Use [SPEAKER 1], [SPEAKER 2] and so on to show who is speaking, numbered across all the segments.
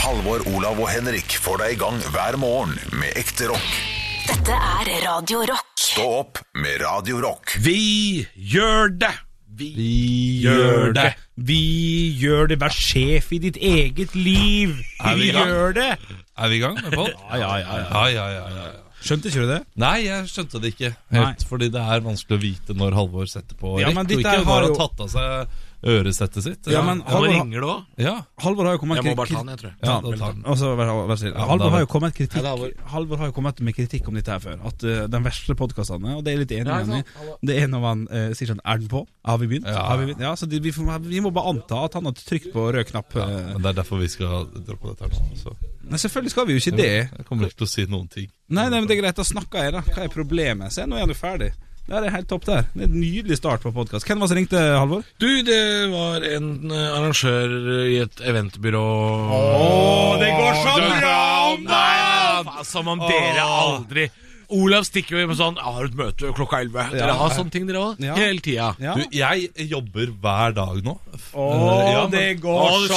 [SPEAKER 1] Halvor, Olav og Henrik får deg i gang hver morgen med ekte rock.
[SPEAKER 2] Dette er Radio Rock.
[SPEAKER 1] Stå opp med Radio Rock.
[SPEAKER 3] Vi gjør det! Vi, gjør det!
[SPEAKER 4] Vi gjør det. Vær sjef i ditt eget liv.
[SPEAKER 3] Er vi
[SPEAKER 4] vi
[SPEAKER 3] i gang?
[SPEAKER 4] gjør det.
[SPEAKER 3] Er vi i gang med pod?
[SPEAKER 4] Ja, ja, ja, ja.
[SPEAKER 3] Ja, ja, ja, ja. ja.
[SPEAKER 4] Skjønte ikke du det?
[SPEAKER 3] Nei, jeg skjønte det ikke
[SPEAKER 4] Nei.
[SPEAKER 3] helt. Fordi det er vanskelig å vite når Halvor setter på
[SPEAKER 4] Ja,
[SPEAKER 3] rekk.
[SPEAKER 4] men
[SPEAKER 3] og
[SPEAKER 4] dette
[SPEAKER 3] ikke
[SPEAKER 4] her
[SPEAKER 3] når
[SPEAKER 4] har
[SPEAKER 3] han har
[SPEAKER 4] jo-
[SPEAKER 3] tatt av seg øresettet sitt.
[SPEAKER 4] Ja, men
[SPEAKER 5] Nå
[SPEAKER 4] Halvor,
[SPEAKER 5] ringer det òg.
[SPEAKER 3] ja.
[SPEAKER 4] Halvor har jo kommet
[SPEAKER 5] Jeg må bare ta den, jeg tror.
[SPEAKER 3] Ja, da tar den.
[SPEAKER 4] Og så vær- altså, vær så snill.
[SPEAKER 3] Ja,
[SPEAKER 4] Halvor
[SPEAKER 3] da-
[SPEAKER 4] har jo kommet
[SPEAKER 5] Ja,
[SPEAKER 4] kritikk
[SPEAKER 5] da, Halvor.
[SPEAKER 4] Halvor har jo kommet med kritikk om dette her før. At eh, den verste podkastene, og det er jeg litt enig
[SPEAKER 5] Ja,
[SPEAKER 4] med han
[SPEAKER 5] sant,
[SPEAKER 4] i, det er når man eh, sier sånn Er den på? Har vi begynt?
[SPEAKER 3] Ja.
[SPEAKER 4] Har vi, begynt? Ja, så de, vi, får, vi må bare anta at han har trykt på rød knapp.
[SPEAKER 3] Ja,
[SPEAKER 4] eh.
[SPEAKER 3] men Det er derfor vi skal droppe dette her nå. Så.
[SPEAKER 4] Nei, selvfølgelig skal vi jo ikke det.
[SPEAKER 3] Jeg kommer ikke til å si noen ting.
[SPEAKER 4] Nei, nei, men det er greit, da snakker jeg, da. Hva er problemet? Se, nå er du ferdig. Det er helt topp der. Det er en nydelig start på podkast. Hvem var det som ringte, Halvor?
[SPEAKER 5] Du, det var en eh, arrangør i et eventbyrå
[SPEAKER 4] det går så bra om
[SPEAKER 5] Nei, men, Som om dere aldri Olav stikker jo med sånn «Jeg 'Har et møte klokka 11'. Dere
[SPEAKER 4] Ja.
[SPEAKER 5] har sånne ting, dere òg?
[SPEAKER 4] Ja.
[SPEAKER 5] Hele tida.
[SPEAKER 4] Ja.
[SPEAKER 3] Du, jeg jobber hver dag nå.
[SPEAKER 4] Å,
[SPEAKER 3] Eh, ja, men-
[SPEAKER 4] går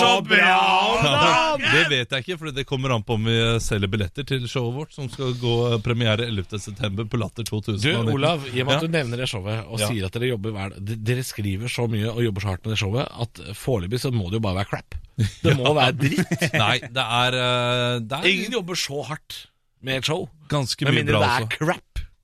[SPEAKER 3] Ja, det vet jeg ikke, for det kommer an på om vi selger billetter til showet vårt, som skal gå premiere 11.9. på Latter 2000.
[SPEAKER 5] Du, Olav, i og med at du nevner det showet og
[SPEAKER 3] Ja.
[SPEAKER 5] sier at dere jobber hver d- Dere skriver så mye og jobber så hardt med det showet at foreløpig så må det jo bare være crap. Det må være dritt.
[SPEAKER 3] Nei, det er, eh, det er
[SPEAKER 5] Ingen jobber så hardt med et show,
[SPEAKER 3] ganske
[SPEAKER 5] med
[SPEAKER 3] mye
[SPEAKER 5] mindre
[SPEAKER 3] bra
[SPEAKER 5] det er
[SPEAKER 3] også.
[SPEAKER 5] crap.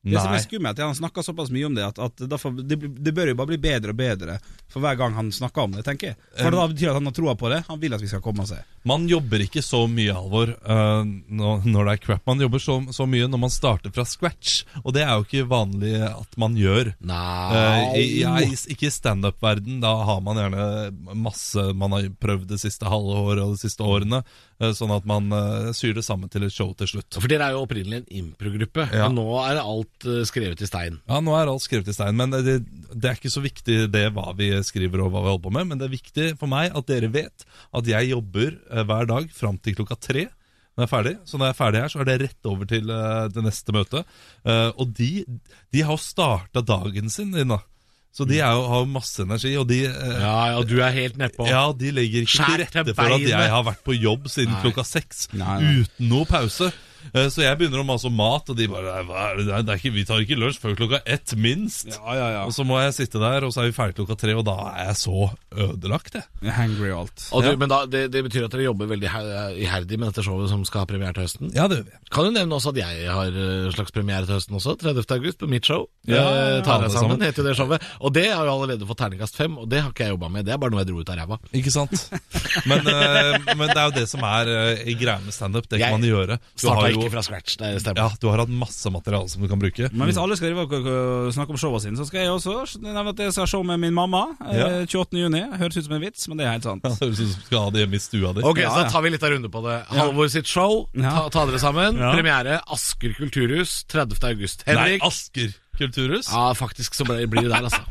[SPEAKER 4] Det som
[SPEAKER 3] Nei.
[SPEAKER 4] er skummelt, er at han snakker såpass mye om det at, at derfor, det, blir- det bør jo bare bli bedre og bedre for hver gang han snakker om det, tenker jeg. For da betyr det at han har troa på det. Han vil at vi skal komme oss her.
[SPEAKER 3] Man jobber ikke så mye, Alvor, eh, nå- når det er crap. Man jobber så, så mye når man starter fra scratch, og det er jo ikke vanlig at man gjør.
[SPEAKER 5] Nei
[SPEAKER 3] Eh, i, i, i- ikke i standup-verden, da har man gjerne masse man har prøvd det siste halve året og de siste årene, eh, sånn at man eh, syr det sammen til et show til slutt.
[SPEAKER 5] For dere er jo opprinnelig en improgruppe,
[SPEAKER 3] Ja.
[SPEAKER 5] og nå er alt eh, skrevet i stein.
[SPEAKER 3] Ja, nå er alt skrevet i stein, men det, det er ikke så viktig det hva vi skriver og hva vi holder på med, men det er viktig for meg at dere vet at jeg jobber eh, hver dag fram til klokka tre når jeg er ferdig. Så når jeg er ferdig her, så er det rett over til eh, det neste møtet. Eh, og de, de har jo starta dagen sin, Nina. Så de er jo, har jo masse energi, og de eh,
[SPEAKER 5] Ja, ja, du er helt nedpå.
[SPEAKER 3] ja, de legger ikke
[SPEAKER 5] Skjær
[SPEAKER 3] til rette
[SPEAKER 5] til
[SPEAKER 3] for at
[SPEAKER 5] beinet.
[SPEAKER 3] jeg har vært på jobb siden klokka seks
[SPEAKER 4] Nei, nei.
[SPEAKER 3] uten noe pause. Eh, Så jeg begynner å mase om mat, og de bare "Nei, Hva er det? der? Det er ikke, Vi tar ikke lunsj før klokka ett, minst.
[SPEAKER 4] ja,
[SPEAKER 3] Og så må jeg sitte der, og så er vi ferdig klokka tre, og da er jeg så ødelagt, jeg.
[SPEAKER 4] Hangry og alt.
[SPEAKER 5] Og du, Men da, det, det betyr at dere jobber veldig her- iherdig med dette showet som skal ha premiere til høsten.
[SPEAKER 3] Ja, det gjør vi.
[SPEAKER 5] Kan du nevne også at jeg har eh, slags premiere til høsten også, 30. august, på mitt show.
[SPEAKER 3] Ja,
[SPEAKER 5] Eh,
[SPEAKER 3] alle
[SPEAKER 5] tar deg sammen,
[SPEAKER 3] sammen.
[SPEAKER 5] heter jo det showet. Og det har jo allerede fått terningkast fem, og det har ikke jeg jobba med. Det er bare noe jeg dro ut av ræva.
[SPEAKER 3] Ikke sant? Men, eh, men det er jo det som er eh, greia med standup. Det kan
[SPEAKER 5] Jeg
[SPEAKER 3] man gjøre. Du har
[SPEAKER 5] Starta
[SPEAKER 3] jo-
[SPEAKER 5] ikke fra scratch, det stemmer.
[SPEAKER 3] ja, du har hatt masse materiale som du kan bruke.
[SPEAKER 4] Men hvis alle skal drive og- og snakke om showene sine, så skal jeg også nevne at jeg skal ha show med min mamma
[SPEAKER 3] Ja.
[SPEAKER 4] eh, 28. juni. Høres ut som en vits, men det er helt sant.
[SPEAKER 3] Ja, det Høres ut som du skal ha det hjemme i stua di.
[SPEAKER 5] Ok,
[SPEAKER 4] Ja,
[SPEAKER 5] så
[SPEAKER 4] ja.
[SPEAKER 5] da tar vi litt av runde på det. Halvor sitt show,
[SPEAKER 4] Ja.
[SPEAKER 5] ta, ta dere sammen.
[SPEAKER 4] Ja.
[SPEAKER 5] Premiere Asker kulturhus 30. august.
[SPEAKER 3] Nei,
[SPEAKER 5] Henrik.
[SPEAKER 3] Asker kulturhus?
[SPEAKER 5] ja, faktisk så ble- blir det der, altså.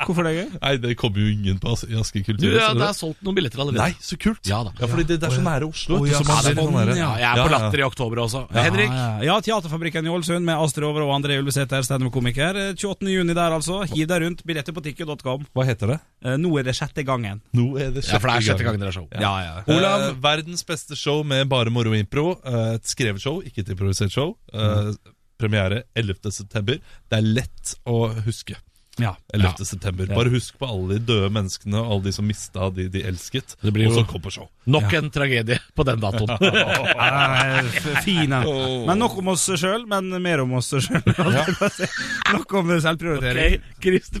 [SPEAKER 4] Hvorfor det er gøy?
[SPEAKER 3] Nei, det kommer jo ingen på As- i Asker
[SPEAKER 5] Du,
[SPEAKER 3] kulturhus.
[SPEAKER 5] ja,
[SPEAKER 3] eller?
[SPEAKER 5] det er solgt noen billetter allerede.
[SPEAKER 3] sånn Nei, så kult!
[SPEAKER 5] Ja da.
[SPEAKER 3] fordi det, det er så nære Oslo.
[SPEAKER 4] Å,
[SPEAKER 3] vet du,
[SPEAKER 4] ja,
[SPEAKER 3] så man-
[SPEAKER 4] sånn,
[SPEAKER 3] det er sånn
[SPEAKER 4] ja.
[SPEAKER 3] nære.
[SPEAKER 5] Ja, jeg er på
[SPEAKER 3] Ja, ja.
[SPEAKER 5] Latter i oktober også. Henrik,
[SPEAKER 4] Ah, Ja, ja, ja. ja, Teaterfabrikken i Ålesund med Astrid Over og André Ulvesæter, standup-komiker. Eh, 28. juni der, altså. Hiv deg rundt. Billetter på ticket.com.
[SPEAKER 3] Hva heter det?
[SPEAKER 4] Eh, Nå er det sjette gangen.
[SPEAKER 3] Nå er det
[SPEAKER 5] ja, for det er sjette gangen dere har show.
[SPEAKER 4] Ja, ja.
[SPEAKER 3] Olav, Eh, verdens beste show med bare moro og impro. Eh, Et skrevet show, ikke et improvisert show. Eh, Premiere 11. september. Det er lett å huske.
[SPEAKER 4] ja.
[SPEAKER 3] 11. september. Bare husk på alle de døde menneskene og alle de som mista de de elsket.
[SPEAKER 5] Det blir
[SPEAKER 3] og
[SPEAKER 5] jo-
[SPEAKER 3] så kom på show.
[SPEAKER 5] Nok en tragedie på den datoen.
[SPEAKER 4] Nei, Ah, f- Fin en. Men nok om oss sjøl, men mer om oss sjøl. Nok om selvprioritering.
[SPEAKER 5] Ok, Christer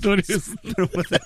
[SPEAKER 5] Thoresen.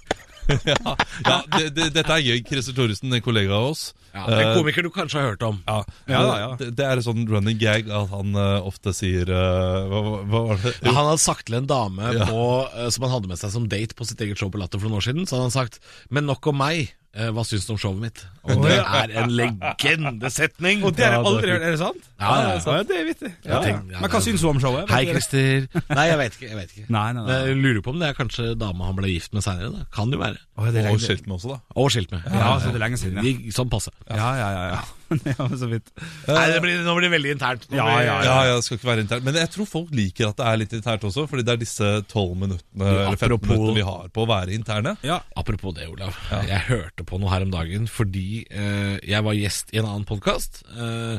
[SPEAKER 3] ja, ja det, det, Dette er gøy. Christer Thoresen, en kollega av oss.
[SPEAKER 5] Ja, en
[SPEAKER 3] Eh,
[SPEAKER 5] komiker du kanskje har hørt om.
[SPEAKER 3] Ja,
[SPEAKER 4] Ja, ja, ja.
[SPEAKER 3] Det, det er en sånn running gag at han eh, ofte sier eh, hva, hva- hva var det?
[SPEAKER 5] Ja, Han hadde sagt til en dame
[SPEAKER 3] Ja.
[SPEAKER 5] på, eh, som han hadde med seg som date på sitt eget show på Latter for noen år siden, så hadde han sagt 'Men nok om meg, eh, hva syns du om showet mitt?' Og det er en legendesetning.
[SPEAKER 4] Og det har jeg
[SPEAKER 3] Ja, det er
[SPEAKER 4] aldri hørt. Er det sant?
[SPEAKER 5] Ja, ja, ja.
[SPEAKER 4] Ja, det er vittig. Ja,
[SPEAKER 5] Ja,
[SPEAKER 4] ja.
[SPEAKER 5] tenk- ja,
[SPEAKER 4] Men hva
[SPEAKER 5] det-
[SPEAKER 4] syns hun om showet?
[SPEAKER 5] Hei, Christer. Nei, jeg vet ikke. Jeg vet ikke.
[SPEAKER 4] Nei, nei, nei.
[SPEAKER 5] Jeg lurer på om det er kanskje dama han ble gift med seinere. Kan jo være.
[SPEAKER 4] Å, det er
[SPEAKER 3] Og
[SPEAKER 4] lenge-
[SPEAKER 3] skilt med også, da.
[SPEAKER 5] Og skilt med.
[SPEAKER 4] Ja, så det altså, er lenge siden, ja.
[SPEAKER 5] De- Sånn passe.
[SPEAKER 4] Ja, ja, ja. ja. ja, så vidt.
[SPEAKER 5] Nei, det blir, nå blir det veldig internt. Nå
[SPEAKER 4] Ja,
[SPEAKER 5] blir,
[SPEAKER 4] ja,
[SPEAKER 3] Ja, ja, det skal ikke være internt. Men jeg tror folk liker at det er litt internt også, fordi det er disse 12 minuttene eller 15
[SPEAKER 5] apropos-
[SPEAKER 3] minuttene vi har på å være interne.
[SPEAKER 4] Ja.
[SPEAKER 5] Apropos det, Olav. Jeg hørte på noe her om dagen fordi eh, jeg var gjest i en annen podkast. Eh,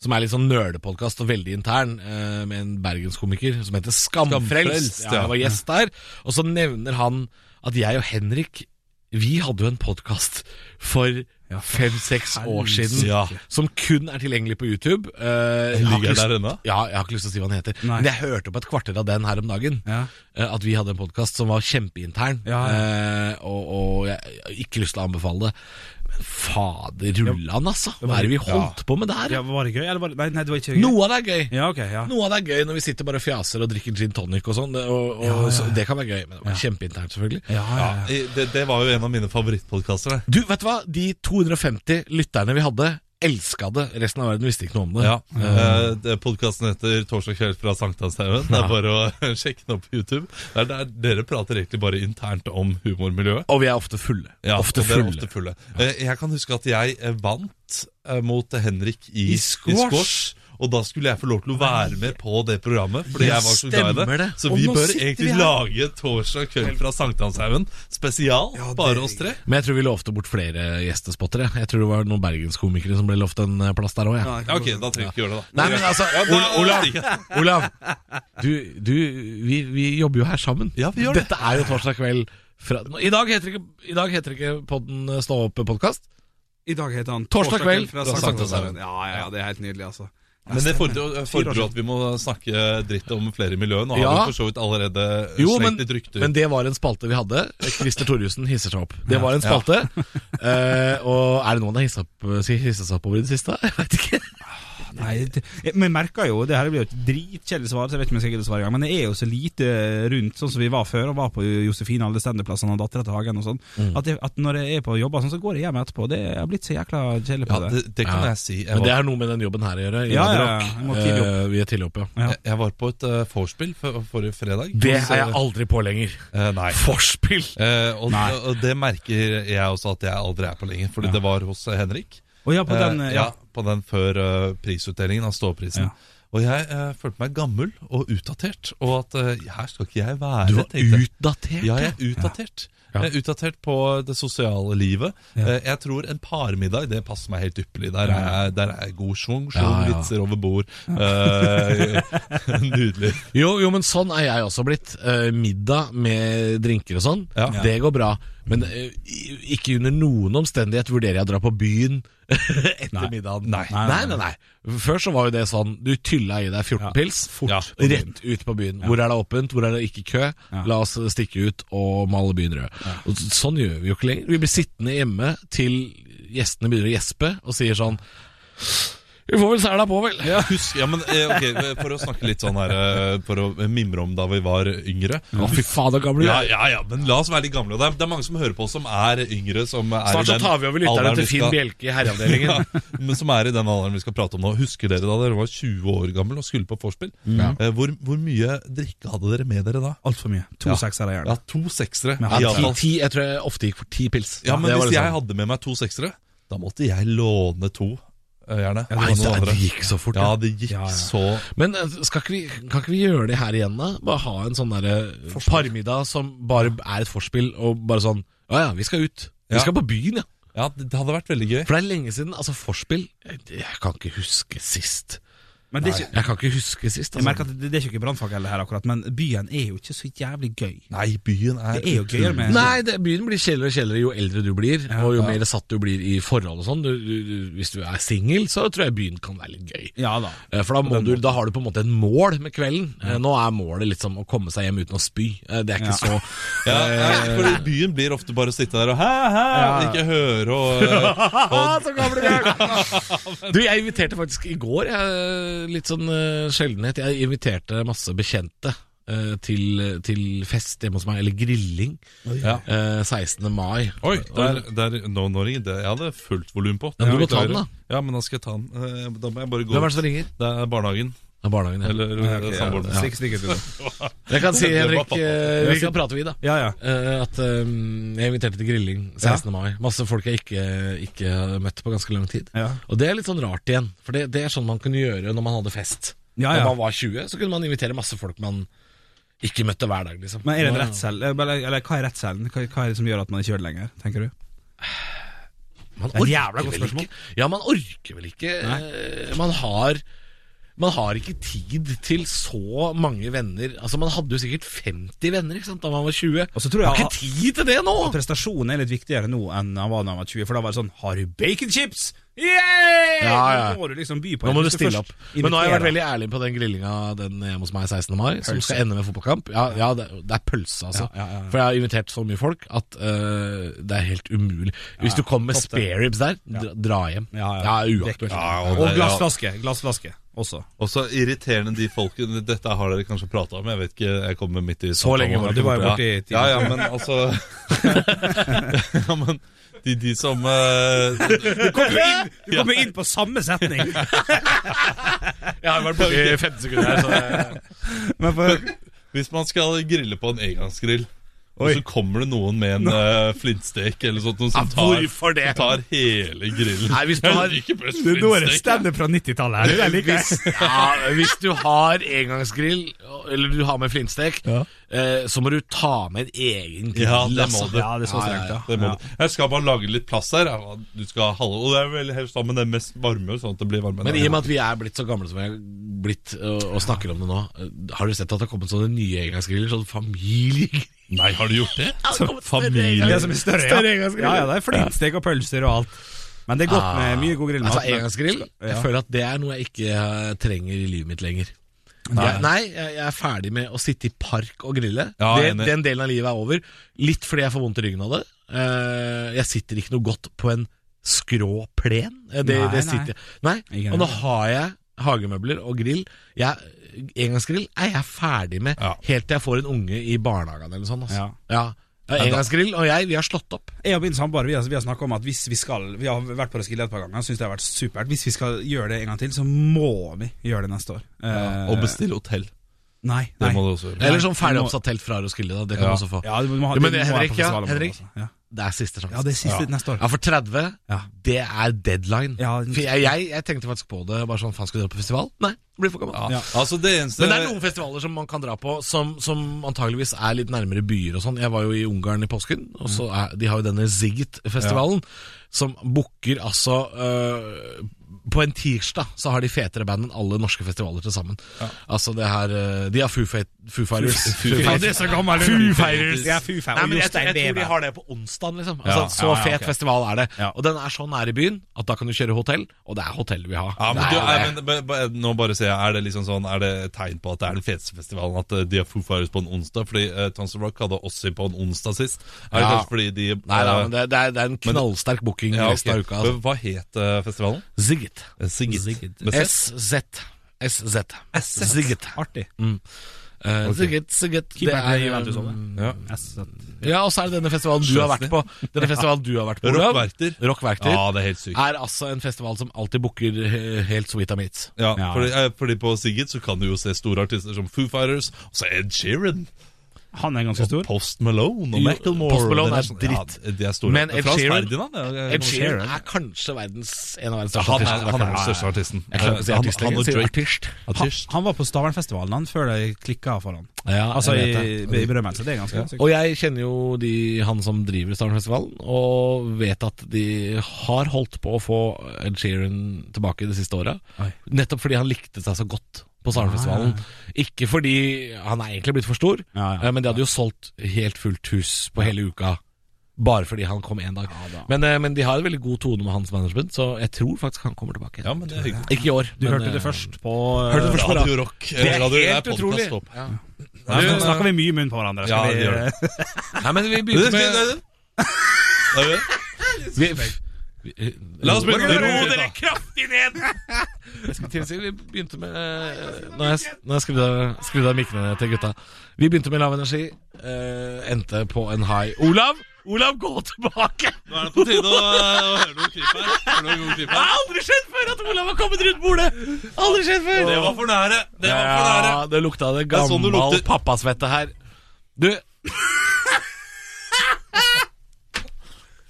[SPEAKER 5] som er litt sånn nerdepodkast og veldig intern, eh, med en bergenskomiker som heter Skamfrelst.
[SPEAKER 3] Skamfrelst,
[SPEAKER 5] Ja, jeg var gjest der. Og så nevner han at jeg og Henrik vi hadde jo en podkast for fem-seks år siden
[SPEAKER 3] Ja.
[SPEAKER 5] som kun er tilgjengelig på YouTube. Eh, jeg har
[SPEAKER 3] Ligger
[SPEAKER 5] ikke lyst-
[SPEAKER 3] der ennå?
[SPEAKER 5] ja, jeg har ikke lyst til å si hva den heter.
[SPEAKER 4] Nei.
[SPEAKER 5] Men jeg hørte på et kvarter av den her om dagen.
[SPEAKER 4] Ja.
[SPEAKER 5] eh, At vi hadde en podkast som var kjempeintern.
[SPEAKER 4] Ja,
[SPEAKER 5] eh, Og, og jeg har ikke lyst til å anbefale det. Men fader rullan, altså! Hva er det vi holdt på med der?
[SPEAKER 4] ja, Var det gøy? Eller var det, nei, nei, det var ikke gøy.
[SPEAKER 5] Noe av det er gøy!
[SPEAKER 4] Ja, ok, ja.
[SPEAKER 5] Noe av det er gøy når vi sitter bare og fjaser og drikker gin tonic og sånn. det- Og, og, så- Det kan være gøy, men det var kjempeinternt, selvfølgelig.
[SPEAKER 4] Ja, ja, ja.
[SPEAKER 3] I- Det, det var jo en av mine favorittpodkaster. det.
[SPEAKER 5] Du, vet du hva? De 250 lytterne vi hadde, elska det. Resten av verden visste ikke noe om det.
[SPEAKER 3] Ja. Eh, det- Podkasten heter 'Torsdag kveld fra Sankthanshaugen'. Det er bare å sjekke den opp på YouTube. Det er der dere prater egentlig bare internt om humormiljøet.
[SPEAKER 5] Og vi er ofte fulle.
[SPEAKER 3] Ja,
[SPEAKER 5] ofte
[SPEAKER 3] og dere er
[SPEAKER 5] fulle.
[SPEAKER 3] Ofte fulle. Eh, Jeg kan huske at jeg eh, vant eh, mot Henrik i,
[SPEAKER 5] I squash.
[SPEAKER 3] og da skulle jeg få lov til å være med på det programmet. Fordi
[SPEAKER 5] Ja,
[SPEAKER 3] jeg var så glad i
[SPEAKER 5] stemmer
[SPEAKER 3] det
[SPEAKER 5] det.
[SPEAKER 3] Så
[SPEAKER 5] Og
[SPEAKER 3] vi
[SPEAKER 5] nå
[SPEAKER 3] bør
[SPEAKER 5] sitter vi
[SPEAKER 3] egentlig
[SPEAKER 5] her.
[SPEAKER 3] lage Torsdag kveld fra Sankthanshaugen spesial. bare oss tre.
[SPEAKER 5] Men jeg tror vi lovte bort flere gjestespottere. Jeg tror det var noen bergenskomikere som ble lovt en eh, plass der òg. Ja.
[SPEAKER 3] Ja, ok, da trenger vi ikke gjøre det, da.
[SPEAKER 5] Nei, men altså, Ola- Olav,
[SPEAKER 3] ikke.
[SPEAKER 5] Olav du, du, vi, vi jobber jo her sammen.
[SPEAKER 3] Ja, vi gjør det.
[SPEAKER 5] Dette er jo torsdag kveld. Fra, Nå, I dag heter ikke, i dag heter ikke podden eh, Stå opp-podkast.
[SPEAKER 4] I dag heter han
[SPEAKER 5] Torsdag kveld
[SPEAKER 4] fra
[SPEAKER 5] fra
[SPEAKER 4] Sankthanshaugen.
[SPEAKER 5] Sankthanshaugen.
[SPEAKER 4] Ja, ja, ja, det er helt nydelig, altså.
[SPEAKER 3] Men det fordrer fordrer jo at vi må snakke dritt om flere i miljøet. Nå har
[SPEAKER 5] Ja.
[SPEAKER 3] vi for så vidt allerede
[SPEAKER 5] Jo,
[SPEAKER 3] slengt
[SPEAKER 5] men,
[SPEAKER 3] litt rykter.
[SPEAKER 5] men det var en spalte vi hadde. Christer Thorjussen hisser seg opp. Det var en spalte. Eh, og er det noen som har hissa opp- hissa seg opp over i det siste? Jeg vet ikke.
[SPEAKER 4] Nei, det, men jeg merker jo, det her blir jo et dritkjedelig svar, så jeg vet ikke om jeg skal gidde å svare i gang, men jeg er jo så lite rundt, sånn som vi var før, og var på Josefine alle standup-plassene og dattera til Hagen og sånn,
[SPEAKER 3] Mm.
[SPEAKER 4] at, jeg- at når jeg er på jobber og sånn, så går jeg hjem etterpå. Det jeg har blitt så jækla kjedelig
[SPEAKER 3] ja,
[SPEAKER 4] på det.
[SPEAKER 3] det, det kan
[SPEAKER 5] Ja.
[SPEAKER 3] jeg si. Jeg
[SPEAKER 5] Men
[SPEAKER 3] var
[SPEAKER 5] det har noe med den jobben her å gjøre. i
[SPEAKER 4] Ja,
[SPEAKER 5] Radio
[SPEAKER 4] ja,
[SPEAKER 5] Rock.
[SPEAKER 4] ja. Vi må tidlig opp.
[SPEAKER 5] Eh, vi er tidlig opp, ja.
[SPEAKER 4] Ja.
[SPEAKER 3] jeg, jeg var på et eh, vorspiel for, forrige fredag.
[SPEAKER 5] Det
[SPEAKER 3] Hos,
[SPEAKER 5] er jeg
[SPEAKER 3] eh,
[SPEAKER 5] aldri på lenger.
[SPEAKER 3] eh, Nei.
[SPEAKER 5] Forspill!
[SPEAKER 3] Eh, og,
[SPEAKER 4] Nei.
[SPEAKER 3] og det merker jeg også at jeg aldri er på lenger, fordi det var hos eh, Henrik.
[SPEAKER 4] Og ja, på den,
[SPEAKER 3] eh, ja,
[SPEAKER 4] ja.
[SPEAKER 3] på den før eh, prisutdelingen av ståprisen.
[SPEAKER 4] Ja.
[SPEAKER 3] Og jeg eh, følte meg gammel og utdatert, og at eh, her skal ikke jeg være.
[SPEAKER 5] Du var
[SPEAKER 3] tenkte jeg.
[SPEAKER 5] utdatert,
[SPEAKER 3] Ja, jeg er utdatert.
[SPEAKER 5] Ja.
[SPEAKER 3] Jeg er utdatert på det sosiale livet.
[SPEAKER 4] Ja.
[SPEAKER 3] Eh, Jeg tror en parmiddag det passer meg helt ypperlig. Der er, der er god schwung, schwung,
[SPEAKER 5] Ja, ja.
[SPEAKER 3] vitser over bord. Eh, nydelig.
[SPEAKER 5] Jo, jo, men sånn er jeg også blitt. Eh, middag med drinker og sånn,
[SPEAKER 3] Ja.
[SPEAKER 5] det går bra. Men eh, i- ikke under noen omstendighet vurderer jeg å dra på byen etter middagen.
[SPEAKER 3] Nei.
[SPEAKER 5] Nei, nei, nei, Før så var jo det sånn, du tylla i deg 14 pils,
[SPEAKER 4] fort
[SPEAKER 3] Ja.
[SPEAKER 4] på byen.
[SPEAKER 5] rett ut på byen. Hvor er det åpent, hvor er det ikke kø? La oss stikke ut og male byen rød. Og s- Sånn gjør vi jo ikke lenger. Vi blir sittende hjemme til gjestene begynner å gjespe og sier sånn Vi får vel sæla på, vel.
[SPEAKER 3] Husk, ja, men eh, ok, For å snakke litt sånn her eh, For å mimre om da vi var yngre.
[SPEAKER 5] Å, fy fader, gamle
[SPEAKER 3] Ja, ja, ja, men la oss være litt gamle. Og det, er, det er mange som hører på oss som er yngre. Som er
[SPEAKER 5] Snart
[SPEAKER 3] i
[SPEAKER 5] så
[SPEAKER 3] den
[SPEAKER 5] tar vi over lytterne
[SPEAKER 3] alderen vi
[SPEAKER 5] til Finn
[SPEAKER 3] skal-
[SPEAKER 5] Bjelke i herreavdelingen.
[SPEAKER 3] Ja, men som er i den alderen vi skal prate om nå. Husker dere da dere var 20 år gammel og skulle på vorspiel?
[SPEAKER 5] Mm. Ja.
[SPEAKER 3] Eh, Hvor, hvor mye drikke hadde dere med dere da?
[SPEAKER 4] Altfor mye. To
[SPEAKER 3] Ja.
[SPEAKER 4] seksere gjerne.
[SPEAKER 3] Ja, to seksere.
[SPEAKER 4] Men
[SPEAKER 5] Ja,
[SPEAKER 3] i alle
[SPEAKER 5] ti,
[SPEAKER 3] fall.
[SPEAKER 5] ti, jeg tror jeg ofte gikk for ti pils.
[SPEAKER 3] ja, men
[SPEAKER 5] Det var
[SPEAKER 3] hvis jeg
[SPEAKER 5] liksom-
[SPEAKER 3] hadde med meg to seksere, da måtte jeg låne to, eh, gjerne.
[SPEAKER 5] Nei,
[SPEAKER 3] av noen
[SPEAKER 5] det,
[SPEAKER 3] andre.
[SPEAKER 5] det gikk så fort.
[SPEAKER 3] Ja,
[SPEAKER 5] Ja.
[SPEAKER 3] det gikk
[SPEAKER 4] Ja, ja.
[SPEAKER 3] så
[SPEAKER 5] Men eh, skal ikke vi, kan ikke vi gjøre det her igjen, da? Bare ha en sånn derre parmiddag som bare er et forspill, og bare sånn Ja ja, vi skal ut.
[SPEAKER 3] Ja.
[SPEAKER 5] Vi skal på byen, ja.
[SPEAKER 3] Ja, det det hadde vært veldig gøy.
[SPEAKER 5] For det er lenge siden. Altså, forspill Jeg, jeg kan ikke huske sist.
[SPEAKER 4] Men det er ikke,
[SPEAKER 5] Jeg kan ikke huske sist.
[SPEAKER 4] jeg merker
[SPEAKER 5] Altså.
[SPEAKER 4] at det, det er ikke brannfakkel her akkurat, men byen er jo ikke så jævlig gøy.
[SPEAKER 3] Nei, byen er
[SPEAKER 4] Det er jo gøyere med
[SPEAKER 5] Nei, det, byen blir kjedeligere og kjedeligere jo eldre du blir, og jo
[SPEAKER 3] ja.
[SPEAKER 5] mer satt du blir i forhold og sånn. Du, du, du, hvis du er singel, så tror jeg byen kan være litt gøy.
[SPEAKER 4] Ja da.
[SPEAKER 5] Eh, For da, må du, da har du på en måte en mål med kvelden. Eh, Nå er målet liksom å komme seg hjem uten å spy. Eh, Det er ikke så
[SPEAKER 3] Ja, nei, for i byen blir ofte bare å sitte der og hæ, hæ, ikke høre og eh,
[SPEAKER 5] Ah, så gamle gæren! Du, jeg inviterte faktisk i går, jeg, litt sånn eh, sjeldenhet, jeg inviterte masse bekjente. eh, Til, til fest hjemme hos meg, eller grilling.
[SPEAKER 3] Ja.
[SPEAKER 5] eh, 16. mai.
[SPEAKER 3] Oi, der, der, nå, nå ringer det. Jeg hadde fullt volum på.
[SPEAKER 5] Ja, men du må ta den,
[SPEAKER 3] Beklager. Ja, men da skal jeg ta den. Eh, Da må jeg bare gå.
[SPEAKER 5] Hvem er det som ringer?
[SPEAKER 3] Det er barnehagen.
[SPEAKER 5] av barnehagen. Ja.
[SPEAKER 3] Eller eh,
[SPEAKER 4] Ok, ja.
[SPEAKER 3] samboeren.
[SPEAKER 4] Stikk, stikk ut, du.
[SPEAKER 5] Jeg kan si,
[SPEAKER 3] Det var
[SPEAKER 5] Henrik,
[SPEAKER 3] pappa.
[SPEAKER 5] eh, vi kan prate videre.
[SPEAKER 4] Ja, ja.
[SPEAKER 5] Eh, at eh, jeg inviterte til grilling 16. mai. Masse folk jeg ikke, ikke hadde møtt på ganske lang tid.
[SPEAKER 4] Ja.
[SPEAKER 5] Og det er litt sånn rart igjen, for det, det er sånn man kunne gjøre når man hadde fest.
[SPEAKER 4] Ja, ja.
[SPEAKER 5] Når man var 20, så kunne man invitere masse folk man ikke møtte hver dag, liksom.
[SPEAKER 4] Men er det en
[SPEAKER 5] Nå-
[SPEAKER 4] redsel? Eller, eller hva er redselen? Hva, hva er det som gjør at man ikke gjør det lenger, tenker du?
[SPEAKER 5] Man
[SPEAKER 4] er et
[SPEAKER 5] orker
[SPEAKER 4] jævla godt
[SPEAKER 5] vel
[SPEAKER 4] spørsmål.
[SPEAKER 5] Ikke. Ja, man orker vel ikke. eh, Man har man har ikke tid til så mange venner. Altså Man hadde jo sikkert 50 venner ikke sant, da man var 20.
[SPEAKER 4] Og så tror
[SPEAKER 5] man har
[SPEAKER 4] jeg-
[SPEAKER 5] ikke tid til det nå!
[SPEAKER 4] Prestasjonen er litt viktigere nå enn han var da han var 20, for da var det sånn Har du baconchips? Yeah!
[SPEAKER 5] Ja, ja.
[SPEAKER 4] Nå må du liksom by på
[SPEAKER 5] Nå må
[SPEAKER 4] Hvis
[SPEAKER 5] du stille
[SPEAKER 4] først
[SPEAKER 5] opp. Men nå har jeg vært
[SPEAKER 4] inviterer-
[SPEAKER 5] veldig ærlig på den grillinga den hjemme hos meg 16. mai, som skal ende med fotballkamp. Ja, ja det, det er pølse, altså.
[SPEAKER 4] Ja, ja, ja, ja.
[SPEAKER 5] For jeg har invitert så mye folk at øh, det er helt umulig. Hvis du kommer med
[SPEAKER 4] Topp det.
[SPEAKER 5] spareribs der, dra, dra hjem.
[SPEAKER 4] Ja, ja.
[SPEAKER 5] Det er uaktuelt.
[SPEAKER 3] Ja,
[SPEAKER 4] Og
[SPEAKER 3] det- ja.
[SPEAKER 4] glassflaske. Glassflaske også.
[SPEAKER 3] Og så irriterende de folkene Dette har dere kanskje prata om, jeg vet ikke. Jeg kommer midt i
[SPEAKER 5] Så lenge
[SPEAKER 3] samtalen.
[SPEAKER 5] var det ikke
[SPEAKER 4] Du var jo borte i
[SPEAKER 3] ja. ja, ja, men altså Ja, men de, de som eh,
[SPEAKER 4] Du kommer inn på samme setning!
[SPEAKER 5] Jeg har vært borte i 15 sekunder her, så
[SPEAKER 4] Men for,
[SPEAKER 3] Hvis man skal grille på en engangsgrill, og
[SPEAKER 4] Oi.
[SPEAKER 3] så kommer det noen med en eh, flintstek eller sånt noe som
[SPEAKER 5] Ja,
[SPEAKER 3] tar,
[SPEAKER 5] hvorfor det?
[SPEAKER 3] som tar hele grillen.
[SPEAKER 5] Nei, hvis du har-
[SPEAKER 3] Jeg liker best
[SPEAKER 4] du, nå er det
[SPEAKER 3] flintstek.
[SPEAKER 4] standup fra 90-tallet her. Det liker jeg.
[SPEAKER 5] ja, hvis du har engangsgrill, eller du har med flintstek, eh, så må du ta med en egen grill.
[SPEAKER 3] Ja, det må
[SPEAKER 5] altså.
[SPEAKER 3] du.
[SPEAKER 4] Ja, det er så strengt, ja.
[SPEAKER 3] Det må du. Jeg skal bare lage litt plass her. ja. Du skal ha halve Og det er vel helst da med den mest varme, sånn at det blir varme.
[SPEAKER 5] Men i og med at vi er blitt så gamle som vi er blitt og, og snakker om det nå, øh, har du sett at det har kommet sånne nye engangsgriller? Sånn familiegriller?
[SPEAKER 3] Nei, har du gjort det?
[SPEAKER 4] Det
[SPEAKER 3] Familie
[SPEAKER 4] som er større,
[SPEAKER 5] Større
[SPEAKER 4] ja.
[SPEAKER 5] engangsgrill.
[SPEAKER 4] ja, ja det er flintstek og pølser og alt. Men det er godt med mye god grillmat.
[SPEAKER 5] Altså engangsgrill? Jeg
[SPEAKER 4] Ja.
[SPEAKER 5] føler at det er noe jeg ikke eh, trenger i livet mitt lenger. Nei, jeg, nei jeg, jeg er ferdig med å sitte i park og grille.
[SPEAKER 3] Ja,
[SPEAKER 5] det,
[SPEAKER 3] jeg er enig.
[SPEAKER 5] den delen av livet er over. Litt fordi jeg får vondt i ryggen av det. Eh, jeg sitter ikke noe godt på en skrå plen. Eh, Det,
[SPEAKER 4] Nei,
[SPEAKER 5] det
[SPEAKER 4] nei.
[SPEAKER 5] sitter, nei.
[SPEAKER 4] Ikke
[SPEAKER 5] Og nå
[SPEAKER 4] det.
[SPEAKER 5] har jeg hagemøbler og grill. Jeg, engangsgrill er jeg ferdig med
[SPEAKER 3] Ja.
[SPEAKER 5] helt til jeg får en unge i barnehagen eller sånn. Altså.
[SPEAKER 4] Ja.
[SPEAKER 5] Ja. Ja, Engangsgrill og jeg, vi har slått opp.
[SPEAKER 4] Jeg og min samboer vi har, vi har snakket om at hvis vi skal Vi har vært på Roskilde et par ganger, syns det har vært supert. Hvis vi skal gjøre det en gang til, så må vi gjøre det neste år. Eh,
[SPEAKER 3] Og bestille hotell.
[SPEAKER 4] nei,
[SPEAKER 3] Det
[SPEAKER 4] nei.
[SPEAKER 3] må du også gjøre.
[SPEAKER 5] Eller sånn
[SPEAKER 4] Nei, vi må-
[SPEAKER 5] ferdigoppsatt telt fra Roskilde. Da. Det kan
[SPEAKER 3] Ja.
[SPEAKER 5] du også få.
[SPEAKER 4] Ja, du må ha,
[SPEAKER 5] Jo, men
[SPEAKER 4] du må være
[SPEAKER 5] Henrik,
[SPEAKER 4] på
[SPEAKER 5] ja,
[SPEAKER 4] festival om det,
[SPEAKER 5] Henrik.
[SPEAKER 4] altså. Ja.
[SPEAKER 5] Det er siste sjanse.
[SPEAKER 4] ja, det er siste neste år.
[SPEAKER 5] Ja, for 30,
[SPEAKER 4] Ja.
[SPEAKER 5] det er deadline.
[SPEAKER 4] Ja.
[SPEAKER 5] For jeg, jeg, jeg tenkte faktisk på det. Bare sånn, faen, skal du dra på festival? Nei, det blir for gammel.
[SPEAKER 3] Ja. Altså, det eneste
[SPEAKER 5] Men det er noen festivaler som man kan dra på, som, som antageligvis er litt nærmere byer og sånn. Jeg var jo i Ungarn i påsken, og så er, de har jo denne Zigget-festivalen, som booker altså øh, På en tirsdag så har de fetere band enn alle norske festivaler til sammen. Altså det her øh, De har Foo, Fight- Foo Fighters. Foo
[SPEAKER 4] Ja, det
[SPEAKER 5] Fighters.
[SPEAKER 4] er så gammel
[SPEAKER 5] Foo Fighters.
[SPEAKER 4] Ja, Foo Fighters.
[SPEAKER 5] Nei, men jeg,
[SPEAKER 4] Jostein
[SPEAKER 5] jeg tror de
[SPEAKER 4] Weber.
[SPEAKER 5] har det på onsdagen, liksom. Altså,
[SPEAKER 4] Ja.
[SPEAKER 5] Så
[SPEAKER 4] Ja, ja,
[SPEAKER 5] fet
[SPEAKER 4] ok.
[SPEAKER 5] festival er det.
[SPEAKER 4] Ja.
[SPEAKER 5] Og den er så nære byen at da kan du kjøre hotell, og det er hotell du vil ha.
[SPEAKER 3] ja, men,
[SPEAKER 5] Det
[SPEAKER 3] du,
[SPEAKER 5] er
[SPEAKER 3] nei,
[SPEAKER 5] det.
[SPEAKER 3] men b- b- Nå bare ser jeg, er det liksom sånn Er det et tegn på at det er den feteste festivalen At eh, de har Foo Fighters på en onsdag Fordi uh, Tons of Rock hadde Ossi på en onsdag sist Er det
[SPEAKER 5] Ja.
[SPEAKER 3] kanskje fordi de
[SPEAKER 5] Nei, nei,
[SPEAKER 3] eh,
[SPEAKER 5] men det, det, er, det er en knallsterk booking
[SPEAKER 3] ja,
[SPEAKER 5] resten av
[SPEAKER 3] ok.
[SPEAKER 5] uka. Altså. Eh,
[SPEAKER 3] Hva het eh, festivalen?
[SPEAKER 5] Zigget.
[SPEAKER 3] Sigit, Med Z?
[SPEAKER 5] SZ. SZ. Zigget.
[SPEAKER 4] Artig.
[SPEAKER 5] Eh, Zigget, Zigget. Det
[SPEAKER 4] Keeper
[SPEAKER 5] er
[SPEAKER 4] til Juventus også.
[SPEAKER 5] Ja.
[SPEAKER 4] Yes.
[SPEAKER 5] ja, og så er det denne festivalen du har vært på. Denne festivalen du har vært på Olav.
[SPEAKER 3] Rockverter.
[SPEAKER 5] Rockverter.
[SPEAKER 3] Ja, det er helt sykt
[SPEAKER 5] Er altså en festival som alltid booker eh, helt sweet of meats.
[SPEAKER 3] ja,
[SPEAKER 4] Ja.
[SPEAKER 3] Fordi, eh, fordi på Sigit så kan du jo se store artister som Foo Fighters Og så Ed Sheeran
[SPEAKER 4] Han er ganske
[SPEAKER 3] Og
[SPEAKER 4] stor.
[SPEAKER 3] Post Malone og
[SPEAKER 5] Jo,
[SPEAKER 3] Macklemore
[SPEAKER 5] Post
[SPEAKER 3] og
[SPEAKER 5] Malone
[SPEAKER 3] den
[SPEAKER 5] er
[SPEAKER 3] sånn-
[SPEAKER 5] dritt.
[SPEAKER 3] ja, De er store
[SPEAKER 5] Men Ed
[SPEAKER 3] Franz
[SPEAKER 5] Sheeran-
[SPEAKER 3] Ferdinand, ja, jeg-
[SPEAKER 5] Ed
[SPEAKER 3] jeg-
[SPEAKER 5] Sheeran er kanskje verdens, en av verdens største
[SPEAKER 3] han
[SPEAKER 5] artister.
[SPEAKER 3] er, han er den største artisten
[SPEAKER 5] Jeg klarer ikke å si
[SPEAKER 3] Eh,
[SPEAKER 5] artist
[SPEAKER 3] han, han
[SPEAKER 5] lenger,
[SPEAKER 3] og
[SPEAKER 5] sier
[SPEAKER 3] Drake
[SPEAKER 5] artist.
[SPEAKER 4] Han,
[SPEAKER 3] Artist
[SPEAKER 4] han var på Stavernfestivalen han, før det klikka for han.
[SPEAKER 5] Ja,
[SPEAKER 4] Altså
[SPEAKER 5] jeg vet
[SPEAKER 4] i,
[SPEAKER 5] det.
[SPEAKER 4] i berømmelse. Det er ganske sykt.
[SPEAKER 5] Og jeg kjenner jo de, han som driver Stavernfestivalen, og vet at de har holdt på å få Ed Sheeran tilbake det siste året.
[SPEAKER 4] Oi.
[SPEAKER 5] Nettopp fordi han likte seg så godt på Stavernfestivalen. Ikke fordi han er egentlig blitt for stor,
[SPEAKER 4] Ja, ja.
[SPEAKER 5] eh, men de hadde jo solgt helt fullt hus på hele uka. Bare fordi han kom én dag. men, eh, men de har en veldig god tone med hans management, så jeg tror faktisk han kommer tilbake.
[SPEAKER 3] Ja, men det er hyggelig
[SPEAKER 5] Ikke i år.
[SPEAKER 4] Du
[SPEAKER 5] men,
[SPEAKER 4] hørte det
[SPEAKER 5] eh,
[SPEAKER 4] først på eh,
[SPEAKER 5] Hørte det først på
[SPEAKER 3] Radio
[SPEAKER 5] radio.
[SPEAKER 3] Rock
[SPEAKER 5] Det er
[SPEAKER 3] Radio-
[SPEAKER 5] helt
[SPEAKER 3] podcast,
[SPEAKER 5] utrolig.
[SPEAKER 3] topp.
[SPEAKER 5] Ja. eh,
[SPEAKER 4] Nei, men Nå snakker vi mye i munnen på hverandre.
[SPEAKER 3] Ja,
[SPEAKER 4] Skal
[SPEAKER 3] det
[SPEAKER 4] vi,
[SPEAKER 3] gjør
[SPEAKER 5] Nei, men vi
[SPEAKER 3] Det er
[SPEAKER 5] begynte
[SPEAKER 3] fint, det
[SPEAKER 5] med
[SPEAKER 3] er det. Det er det.
[SPEAKER 5] Vi, vi,
[SPEAKER 3] La oss begynne med Ro eh, dere
[SPEAKER 5] kraftig ned! Jeg skulle til å si, Vi begynte med eh, Når jeg, når jeg skrudde, av- skrudde av mikkene til gutta Vi begynte med lav energi, eh, endte på en high. Olav! Olav, gå tilbake!
[SPEAKER 3] Nå er det på tide å, å høre noe klipp her. Høre noe god klipp
[SPEAKER 5] Det
[SPEAKER 3] her.
[SPEAKER 5] har aldri skjedd før at Olav har kommet rundt bordet! Aldri skjedd før!
[SPEAKER 3] Det var for nære! Det var for nære.
[SPEAKER 5] Ja, det lukta det
[SPEAKER 3] er sånn det
[SPEAKER 5] gammel
[SPEAKER 3] lukter.
[SPEAKER 5] pappasvette her. Du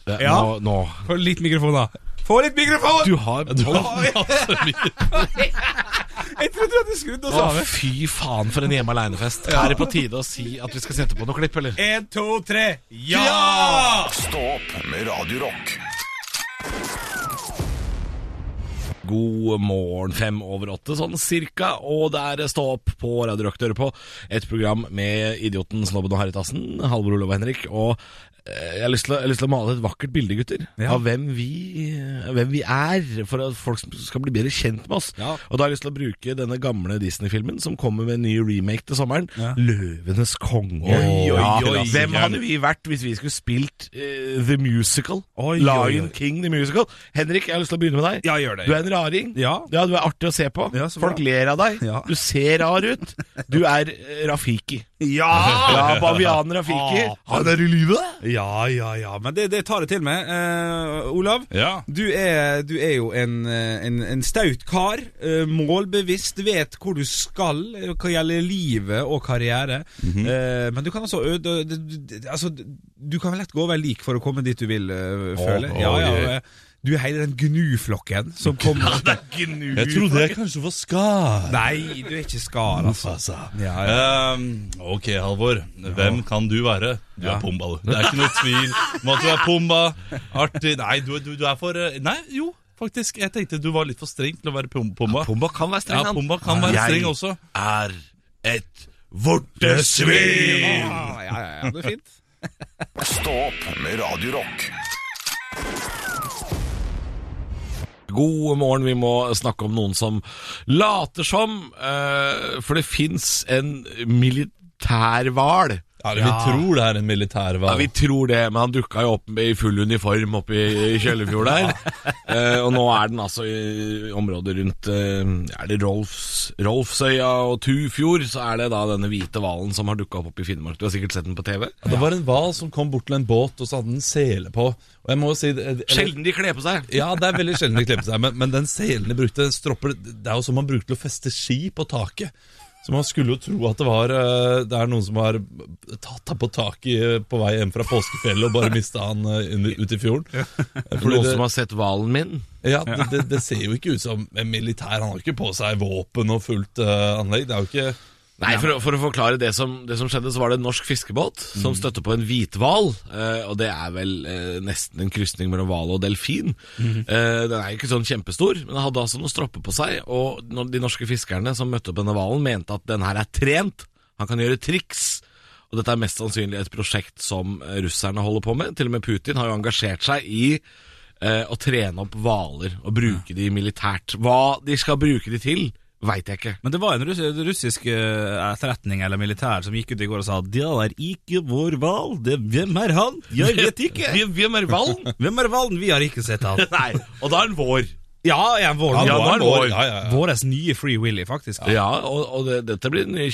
[SPEAKER 5] Det-
[SPEAKER 4] Ja.
[SPEAKER 5] nå, nå.
[SPEAKER 4] Få litt mikrofon, da. Få litt mikrofon!
[SPEAKER 5] Du har
[SPEAKER 4] Jeg trodde du hadde skrudd oss
[SPEAKER 5] Å,
[SPEAKER 4] av.
[SPEAKER 5] fy faen, for en hjemme aleine-fest. Er det på tide å si at vi skal sette på noe klipp, eller?
[SPEAKER 4] En, to, tre. Ja!
[SPEAKER 1] Stå opp med Radio Rock.
[SPEAKER 5] God morgen, fem over åtte, sånn cirka. Og det er Stå opp på Radio Rock du hører på. Et program med idioten, snobben og harrytassen, Halvor Olav og Henrik. Og eh, jeg har, lyst til å, jeg har lyst til å male et vakkert bilde, gutter,
[SPEAKER 4] Ja.
[SPEAKER 5] av hvem vi, eh, hvem vi er. For at folk skal bli bedre kjent med oss.
[SPEAKER 4] Ja.
[SPEAKER 5] Og da har jeg lyst til å bruke denne gamle Disney-filmen, som kommer med en ny remake til sommeren.
[SPEAKER 4] Ja.
[SPEAKER 5] 'Løvenes konge'.
[SPEAKER 3] Oi, oi,
[SPEAKER 5] Ja,
[SPEAKER 3] oi,
[SPEAKER 5] hvem
[SPEAKER 3] gæren.
[SPEAKER 5] hadde vi vært hvis vi skulle spilt eh, The Musical?
[SPEAKER 4] Oi, oi,
[SPEAKER 5] Lion
[SPEAKER 4] oi.
[SPEAKER 5] King The Musical. Henrik, jeg har lyst til å begynne med deg.
[SPEAKER 4] Ja, gjør det.
[SPEAKER 5] Du er en raring.
[SPEAKER 4] Ja.
[SPEAKER 5] du er artig å se på.
[SPEAKER 4] Ja, så bra.
[SPEAKER 5] Folk ler av deg.
[SPEAKER 4] Ja.
[SPEAKER 5] Du ser rar ut. Du er eh, Rafiki.
[SPEAKER 4] Ja!
[SPEAKER 5] Ja, Bavian Rafiki.
[SPEAKER 4] Ah.
[SPEAKER 5] Han er i live.
[SPEAKER 4] Ja, ja, ja. Men det, det tar jeg til meg. Eh, Olav,
[SPEAKER 3] Ja.
[SPEAKER 4] du, er, du er jo en, eh, en, en staut kar. eh, målbevisst, vet hvor du skal eh, hva gjelder livet og karriere. Eh, men du kan altså ø- du- du- du- Altså, du kan vel lett gå og være lik for å komme dit du vil, eh, føle.
[SPEAKER 3] å,
[SPEAKER 4] ja, ja,
[SPEAKER 3] ja.
[SPEAKER 4] eh, du er hele den gnuflokken som kommer
[SPEAKER 3] Jeg trodde jeg kanskje var skar.
[SPEAKER 4] Nei, du er ikke skar, altså. Ja, ja.
[SPEAKER 3] Ehm, ok, Halvor. Hvem kan du være? Du
[SPEAKER 4] Ja.
[SPEAKER 3] er Pumba, du. Det er ikke noe tvil om at du er Pumba. Artig. Nei, du, du, du er for eh, Nei, jo, faktisk. Jeg tenkte du var litt for streng til å være Pum- Pumba.
[SPEAKER 5] Pumba kan være streng,
[SPEAKER 3] Ja, Pumba kan være
[SPEAKER 5] Jeg
[SPEAKER 3] streng også.
[SPEAKER 5] er et vortesvin.
[SPEAKER 4] Ah, ja, ja, ja, det er fint.
[SPEAKER 1] Stå opp med Radio Rock.
[SPEAKER 5] God morgen, vi må snakke om noen som later som. eh, for det fins en militærhval.
[SPEAKER 3] Ja, Vi tror det er en militærhval.
[SPEAKER 5] Ja, vi tror det, men han dukka jo opp i full uniform oppe i i Kjøllefjord der. Eh, og nå er den altså i området rundt eh, Er det Rolfs, Rolfsøya og Tufjord, så er det da denne hvite hvalen som har dukka opp oppe i Finnmark. Du har sikkert sett den på TV?
[SPEAKER 3] Ja, Det var en hval som kom bort til en båt, og så hadde den sele på. Og jeg må jo si det- det-
[SPEAKER 5] Sjelden de kler på seg.
[SPEAKER 3] Ja, det er veldig sjelden de klemmer seg, men, men den selen de brukte, stropper Det er jo som man bruker til å feste ski på taket. Så man skulle jo tro at det var eh, Det er noen som har tatt deg på taket eh, på vei hjem fra påskefjellet og bare mista han eh, inn- ut i fjorden. Eh, Fordi
[SPEAKER 5] Noen
[SPEAKER 3] det,
[SPEAKER 5] som har sett hvalen min?
[SPEAKER 3] ja, det, det, det ser jo ikke ut som en militær. Han har jo ikke på seg våpen og fullt eh, anlegg. Det er jo ikke
[SPEAKER 5] Nei, for, å- for å forklare det som, det som skjedde, så var det en norsk fiskebåt som støtte på en hvithval. eh, og det er vel eh, nesten en krysning mellom hval og delfin. Eh, den er jo ikke sånn kjempestor, men den hadde altså noen stropper på seg. Og når de norske fiskerne som møtte opp denne hvalen, mente at den her er trent. Han kan gjøre triks. Og dette er mest sannsynlig et prosjekt som eh, russerne holder på med. Til og med Putin har jo engasjert seg i eh, å trene opp hvaler og bruke de militært. Hva de skal bruke de til, veit jeg ikke.
[SPEAKER 4] Men det var en russ russisk eh, etterretning eller militær som gikk ut i går og sa Det er ikke vår hval. Det- Hvem er han? Jeg vet ikke.
[SPEAKER 5] Hvem- Hvem er hvalen?
[SPEAKER 4] Hvem er hvalen? Vi har ikke sett han.
[SPEAKER 5] Nei, og da er den vår.
[SPEAKER 4] Ja, ja, vår, vår,
[SPEAKER 5] Ja, nå er
[SPEAKER 4] vår.
[SPEAKER 5] vår.
[SPEAKER 3] Ja, ja, ja.
[SPEAKER 4] Våres nye Free Willy, faktisk.
[SPEAKER 5] Ja, og, og det, dette blir den nye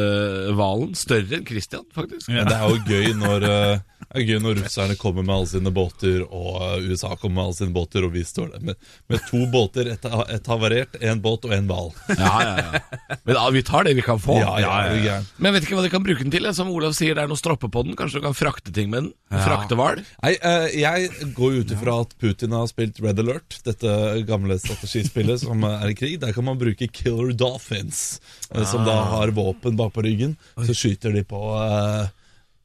[SPEAKER 5] kjendishvalen. Større enn Christian, faktisk.
[SPEAKER 3] Men det er jo gøy når, eh, det er gøy når russerne kommer med alle sine båter, og eh, USA kommer med alle sine båter, og vi står der med, med to båter, et, ha- et havarert, en båt og en hval.
[SPEAKER 5] Ja, ja, ja. Men ja, vi tar det vi kan få.
[SPEAKER 3] Ja, ja, er du gæren.
[SPEAKER 5] Men jeg vet ikke hva de kan bruke den til. jeg. Som Olav sier, det er noe stroppe på den. Kanskje du kan frakte ting med den? Frakte hval?
[SPEAKER 3] Nei, eh, jeg går jo ut ifra at Putin har spilt Red Alert, dette gamle strategispillet som eh, er i krig. Der kan man bruke Killer Dolphins, eh, som da har våpen bak på ryggen. Så skyter de på, eh,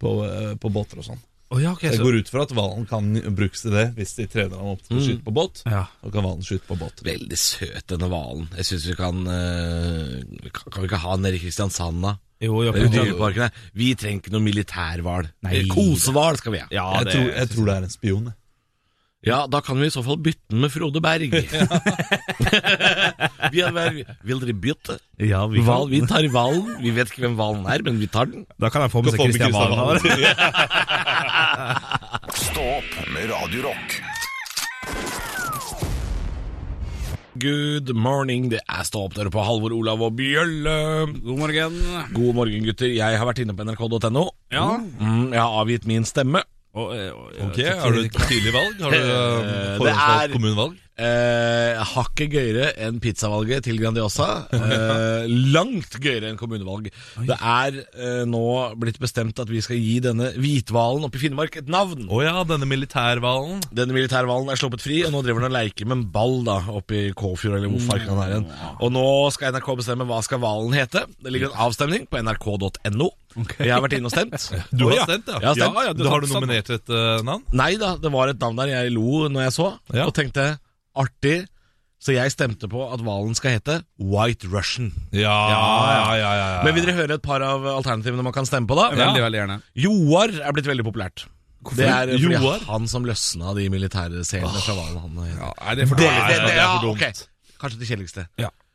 [SPEAKER 3] på, eh, på båter og sånn.
[SPEAKER 4] Å, ja, ok,
[SPEAKER 3] Jeg
[SPEAKER 4] så-
[SPEAKER 3] går ut fra at hvalen kan brukes til det hvis de trener ham opp til å skyte på båt.
[SPEAKER 4] Ja.
[SPEAKER 3] Og kan hvalen skyte på båt.
[SPEAKER 5] Veldig søt, denne hvalen. Jeg syns vi kan eh, vi kan- Kan vi ikke ha den nede i Kristiansand, da?
[SPEAKER 4] Jo, ja,
[SPEAKER 5] Eller i
[SPEAKER 4] Putin.
[SPEAKER 5] dyreparken der. Vi trenger ikke noe militærhval.
[SPEAKER 4] Nei.
[SPEAKER 5] Kosehval skal vi ha.
[SPEAKER 4] ja,
[SPEAKER 3] Jeg
[SPEAKER 4] det,
[SPEAKER 3] tror, jeg tror det er en spion. jeg.
[SPEAKER 5] Ja, da kan vi i så fall bytte den med Frode Berg. vi er, vil dere bytte?
[SPEAKER 4] ja, vi
[SPEAKER 5] Val,
[SPEAKER 4] kan,
[SPEAKER 5] vi tar hvalen. Vi vet ikke hvem hvalen er, men vi tar den.
[SPEAKER 4] da kan jeg få med seg
[SPEAKER 3] Få med
[SPEAKER 4] Christian
[SPEAKER 3] Kristian
[SPEAKER 4] Valen. her.
[SPEAKER 3] Valen.
[SPEAKER 1] Stå opp med Radio Rock.
[SPEAKER 5] Good morning, det er Stå opp dere på Halvor Olav og Bjølle.
[SPEAKER 4] God morgen.
[SPEAKER 5] God morgen, gutter. Jeg har vært inne på nrk.no.
[SPEAKER 4] Ja.
[SPEAKER 5] Mm, jeg har avgitt min stemme.
[SPEAKER 4] Og, eh, og,
[SPEAKER 3] Ok, Har du et tidlig valg? Har du eh,
[SPEAKER 5] Eh, det er-
[SPEAKER 3] forhåndsvalgt kommunevalg?
[SPEAKER 5] Eh, hakket gøyere enn pizzavalget til Grandiosa. Eh, langt gøyere enn kommunevalg. Det er eh, nå blitt bestemt at vi skal gi denne hvithvalen oppe i Finnmark et navn.
[SPEAKER 3] Å ja, denne militærhvalen.
[SPEAKER 5] Denne militærhvalen er sluppet fri, og nå driver den og leker med en ball da, oppe i Kåfjord. eller hvor farken han er igjen.
[SPEAKER 3] Mm.
[SPEAKER 5] Og nå skal NRK bestemme hva skal hvalen hete. Det ligger en avstemning på nrk.no. Jeg har vært inne og stemt.
[SPEAKER 3] Du
[SPEAKER 5] Å,
[SPEAKER 3] har
[SPEAKER 5] ja.
[SPEAKER 3] stemt, ja?
[SPEAKER 5] Jeg har stemt.
[SPEAKER 3] Ja, ja, du har du nominert et eh, navn?
[SPEAKER 5] Nei da, det var et navn der jeg lo når jeg så,
[SPEAKER 3] Ja.
[SPEAKER 5] og tenkte artig. Så jeg stemte på at hvalen skal hete White Russian.
[SPEAKER 3] Ja, ja, ja. ja, ja.
[SPEAKER 5] Men vil
[SPEAKER 4] Ah.
[SPEAKER 5] dere høre et par av alternativene man kan stemme på, da?
[SPEAKER 4] Veldig, veldig gjerne.
[SPEAKER 5] Joar er blitt veldig populært. Det er fordi
[SPEAKER 3] Joar?
[SPEAKER 5] han som løsna de militære scenene fra hvalen. Han
[SPEAKER 4] Ah.
[SPEAKER 5] heter.
[SPEAKER 4] Nei, det er for
[SPEAKER 3] Nei,
[SPEAKER 4] dårlig.
[SPEAKER 3] det, det er for
[SPEAKER 5] ok.
[SPEAKER 3] dumt.
[SPEAKER 5] Kanskje det kjedeligste.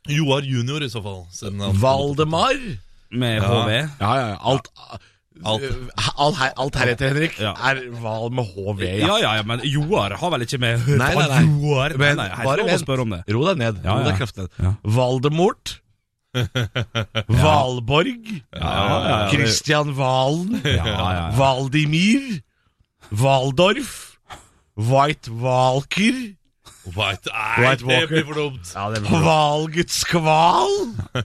[SPEAKER 3] Joar junior, i så fall. siden han-
[SPEAKER 5] Valdemar.
[SPEAKER 4] Med
[SPEAKER 3] Ja.
[SPEAKER 4] HV.
[SPEAKER 5] Ja, ja, ja. Alt,
[SPEAKER 3] Alt.
[SPEAKER 5] alt, her- alt heretter, Henrik,
[SPEAKER 4] Ja.
[SPEAKER 5] er hval med HV.
[SPEAKER 4] Ja.
[SPEAKER 5] Ja.
[SPEAKER 4] ja, ja, men Joar har vel ikke med
[SPEAKER 5] Nei, nei, nei.
[SPEAKER 4] Joar
[SPEAKER 5] Men
[SPEAKER 4] Nei, nei,
[SPEAKER 5] bare
[SPEAKER 4] Bare
[SPEAKER 5] vent.
[SPEAKER 4] spør om det.
[SPEAKER 5] Ro deg ned.
[SPEAKER 4] Ja,
[SPEAKER 5] Ro
[SPEAKER 4] ja.
[SPEAKER 5] deg kraftig ned.
[SPEAKER 4] Ja.
[SPEAKER 5] Valdemort. Valborg.
[SPEAKER 4] ja, ja.
[SPEAKER 5] Christian Valen.
[SPEAKER 4] ja, ja.
[SPEAKER 5] Valdimir. Valdorf. White Walker.
[SPEAKER 3] White, nei, det
[SPEAKER 5] White
[SPEAKER 3] blir
[SPEAKER 5] Walker.
[SPEAKER 3] for dumt.
[SPEAKER 5] Valguts kval.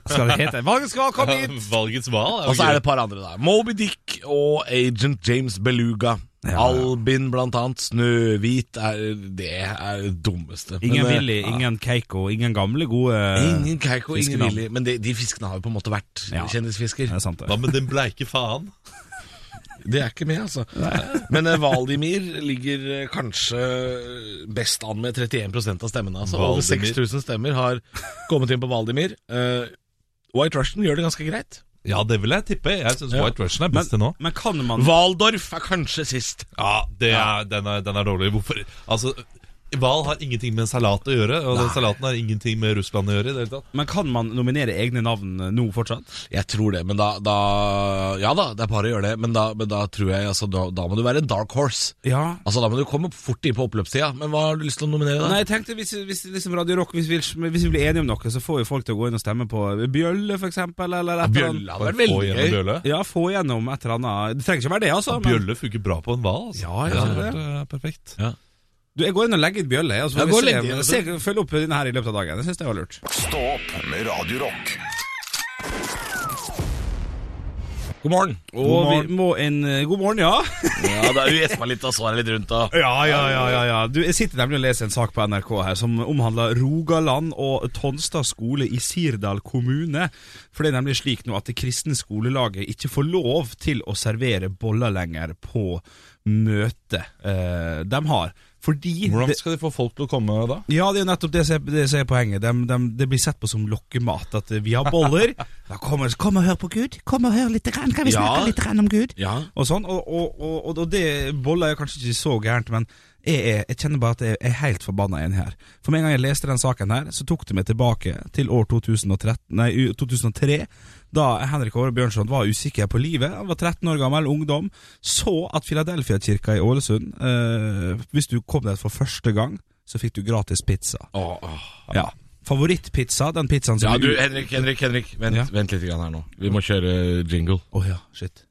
[SPEAKER 4] Skal det hete Hva skal komme hit?
[SPEAKER 3] Valgets hval.
[SPEAKER 5] Og så er det et par andre, da. Moby Dick og Agent James Beluga.
[SPEAKER 4] ja.
[SPEAKER 5] Albin, blant annet. Snøhvit er Det er det dummeste. Men,
[SPEAKER 4] Ingen
[SPEAKER 5] eh,
[SPEAKER 4] Willy, ingen Keiko, ingen gamle gode
[SPEAKER 5] Ingen Keiko, ingen
[SPEAKER 4] Fiskenavn.
[SPEAKER 5] Willy. Men de, de fiskene har jo på en måte vært
[SPEAKER 4] Ja.
[SPEAKER 5] kjendisfisker.
[SPEAKER 4] Det er sant,
[SPEAKER 3] Hva
[SPEAKER 4] det.
[SPEAKER 3] med den bleike faen?
[SPEAKER 5] Det er ikke med, altså. Men eh, Valdimir ligger eh, kanskje best an med 31 av stemmene. Altså. Over
[SPEAKER 3] Valdimir.
[SPEAKER 5] 6000 stemmer har kommet inn på Valdimir. Eh, White Russian gjør det ganske greit.
[SPEAKER 3] Ja, det vil jeg tippe. Jeg syns
[SPEAKER 5] Ja.
[SPEAKER 3] White Russian er best til nå.
[SPEAKER 4] Men kan man
[SPEAKER 5] Valdorf er kanskje sist.
[SPEAKER 3] Ja, det er, den, er, den er dårlig. Hvorfor? Altså, Hval har ingenting med salat å gjøre, og den salaten har ingenting med Russland å gjøre. i det hele tatt
[SPEAKER 4] Men kan man nominere egne navn eh, nå fortsatt?
[SPEAKER 5] Jeg tror det, men da, da Ja da, det er bare å gjøre det, men da, men da tror jeg altså, da, da må du være en dark horse.
[SPEAKER 4] Ja.
[SPEAKER 5] Altså Da må du komme fort inn på oppløpstida. Men hva har du lyst til å nominere, da?
[SPEAKER 4] Nei, jeg tenkte hvis, hvis liksom Radio Rock Hvis vi, hvis vi blir enige om noe, så får jo folk til å gå inn og stemme på eh, Bjølle, for eksempel. Eller et eller annet.
[SPEAKER 5] Bjølla hadde vært
[SPEAKER 3] Få
[SPEAKER 5] veldig
[SPEAKER 3] gjennom
[SPEAKER 5] gøy.
[SPEAKER 3] Bjølle.
[SPEAKER 4] Ja, få gjennom et eller annet. Det trenger ikke være det, altså. men-
[SPEAKER 3] Bjølle funker bra på en hval. Altså.
[SPEAKER 4] Ja, jeg
[SPEAKER 3] det hadde
[SPEAKER 4] synes det.
[SPEAKER 3] vært eh, perfekt.
[SPEAKER 4] Du, jeg går inn og legger et bjølle. Og så
[SPEAKER 5] Ja,
[SPEAKER 4] får
[SPEAKER 5] gå og
[SPEAKER 4] vi
[SPEAKER 5] legg det
[SPEAKER 4] se,
[SPEAKER 5] inn,
[SPEAKER 4] se, følge opp denne her i løpet av dagen. Jeg synes det var lurt.
[SPEAKER 1] Stå opp med Radio Rock.
[SPEAKER 5] God morgen.
[SPEAKER 4] Og vi må en eh, God morgen, ja.
[SPEAKER 5] Ja, da gjespa litt og svara litt rundt og
[SPEAKER 4] Ja, ja, ja, ja, ja. Du, Jeg sitter nemlig og leser en sak på NRK her som omhandler Rogaland og Tonstad skole i Sirdal kommune. For det er nemlig slik nå at det kristne skolelaget ikke får lov til å servere boller lenger på møtet eh, de har. Fordi
[SPEAKER 3] Hvordan
[SPEAKER 4] det,
[SPEAKER 3] skal de få folk til å komme da?
[SPEAKER 4] Ja, det er jo nettopp det som er, det som er poenget. Dem- dem- det blir sett på som lokkemat. At eh, vi har boller. Da kommer, kom og hør på Gud. Kom og hør litt. Grann. Kan vi
[SPEAKER 5] Ja.
[SPEAKER 4] snakke litt grann om Gud?
[SPEAKER 5] Ja.
[SPEAKER 4] og sånn. Og, og, og, og, og det boller er kanskje ikke så gærent, men jeg, er- jeg kjenner bare at jeg er helt forbanna enig her. For med en gang jeg leste den saken her, så tok det meg tilbake til år 2013, nei, u- 2003. Da Henrik Åre Bjørnson var usikker på livet, han var 13 år gammel, ungdom, så at Philadelphia-kirka i Ålesund eh, Hvis du kom der for første gang, så fikk du gratis pizza. Ja. Favorittpizza, den pizzaen som
[SPEAKER 5] ja, du
[SPEAKER 4] Å
[SPEAKER 5] Henrik, Henrik, Henrik. Vent,
[SPEAKER 4] Ja.
[SPEAKER 5] vent litt grann her nå. Vi må kjøre jingle.
[SPEAKER 4] ja, shit.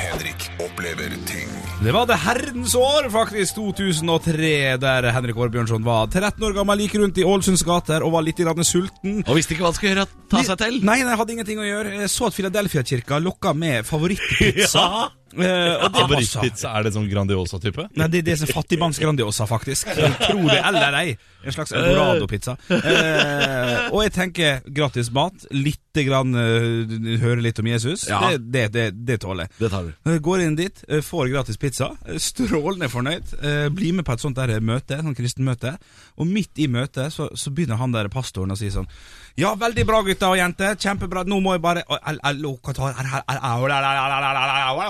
[SPEAKER 1] Henrik opplever ting
[SPEAKER 4] Det var det herrens år, faktisk 2003, der Henrik Årbjørnson var 13 år gammel, gikk rundt i Ålesunds gater og var litt grann sulten.
[SPEAKER 5] Og visste ikke hva han skulle gjøre. Ta seg til.
[SPEAKER 4] Nei, nei, hadde ingenting å gjøre. Jeg så at Philadelphia-kirka lokka med favorittpizza. Eh, og det passa.
[SPEAKER 3] Favorittpizza er det sånn Grandiosa-type?
[SPEAKER 4] Nei, det er det som er fattigmannsgrandiosa, faktisk. Tro det eller ei. En slags eldorado-pizza. Eh, og jeg tenker gratis mat, lite grann eh, høre litt om Jesus.
[SPEAKER 5] Ja.
[SPEAKER 4] Det, det, det, det tåler jeg.
[SPEAKER 5] Det tar du.
[SPEAKER 4] Eh, Går inn dit, eh, får gratis pizza, eh, strålende fornøyd. eh, Blir med på et sånt der møte, sånn kristenmøte. Og midt i møtet så, så begynner han der pastoren å si sånn Ja, veldig bra, gutter og jenter. Kjempebra. Nå må jeg bare Og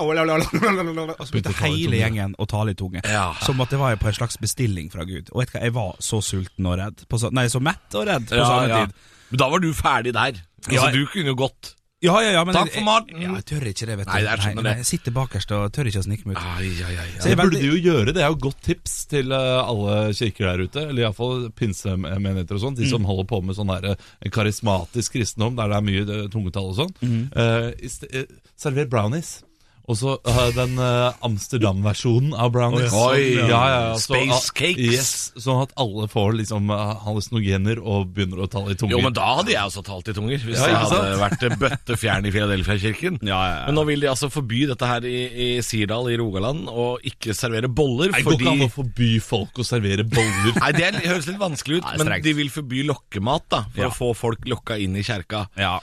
[SPEAKER 4] så begynte hele gjengen å tale i tunge.
[SPEAKER 5] Ja.
[SPEAKER 4] Som at det var på en slags bestilling fra Gud. Og vet du hva, jeg var så sulten og redd. På så, nei, så mett og redd på samme tid.
[SPEAKER 5] Men da var du ferdig der. Altså,
[SPEAKER 4] Ja, jeg-
[SPEAKER 5] du kunne jo gått.
[SPEAKER 4] Ja, ja, ja, men
[SPEAKER 5] Takk for
[SPEAKER 4] jeg-
[SPEAKER 5] maten.
[SPEAKER 4] Ja, jeg tør ikke det, vet du.
[SPEAKER 5] Nei, det er sånn det er.
[SPEAKER 4] Jeg sitter bakerst og tør ikke å snike meg ut.
[SPEAKER 5] Ai, ai, ai,
[SPEAKER 4] Så jeg
[SPEAKER 3] Det
[SPEAKER 4] er
[SPEAKER 3] burde
[SPEAKER 4] veldig-
[SPEAKER 3] de jo gjøre. Det er jo et godt tips til eh, alle kirker der ute. Eller iallfall pinsemenigheter og sånn.
[SPEAKER 5] Mm.
[SPEAKER 3] De som holder på med sånn der, eh,
[SPEAKER 5] Mm.
[SPEAKER 3] karismatisk kristendom der det er mye eh, tungetall og sånn. Eh, i st- eh, server brownies. Og så eh, den eh, Amsterdam-versjonen av brownies.
[SPEAKER 5] Oi,
[SPEAKER 3] ja, ja, ja.
[SPEAKER 5] space
[SPEAKER 3] ah,
[SPEAKER 5] cakes.
[SPEAKER 3] Yes, sånn at alle får liksom eh, hallusinogener og begynner å ta litt tunge.
[SPEAKER 5] Jo, men da hadde jeg også talt i tunger, hvis
[SPEAKER 3] Ja,
[SPEAKER 5] jeg
[SPEAKER 3] ikke
[SPEAKER 5] hadde vært bøttefjern i Filadelfia-kirken.
[SPEAKER 4] Ja, ja, ja.
[SPEAKER 5] Men nå vil de altså forby dette her i, i Sirdal i Rogaland, og ikke servere boller,
[SPEAKER 3] det går
[SPEAKER 5] fordi
[SPEAKER 3] ikke an å forby folk å servere boller.
[SPEAKER 5] Nei, det er- høres litt vanskelig ut,
[SPEAKER 4] Nei,
[SPEAKER 5] men
[SPEAKER 4] strengt.
[SPEAKER 5] de vil forby lokkemat, da, for
[SPEAKER 4] Ja.
[SPEAKER 5] å få folk lokka inn i kjerka.
[SPEAKER 4] Ja.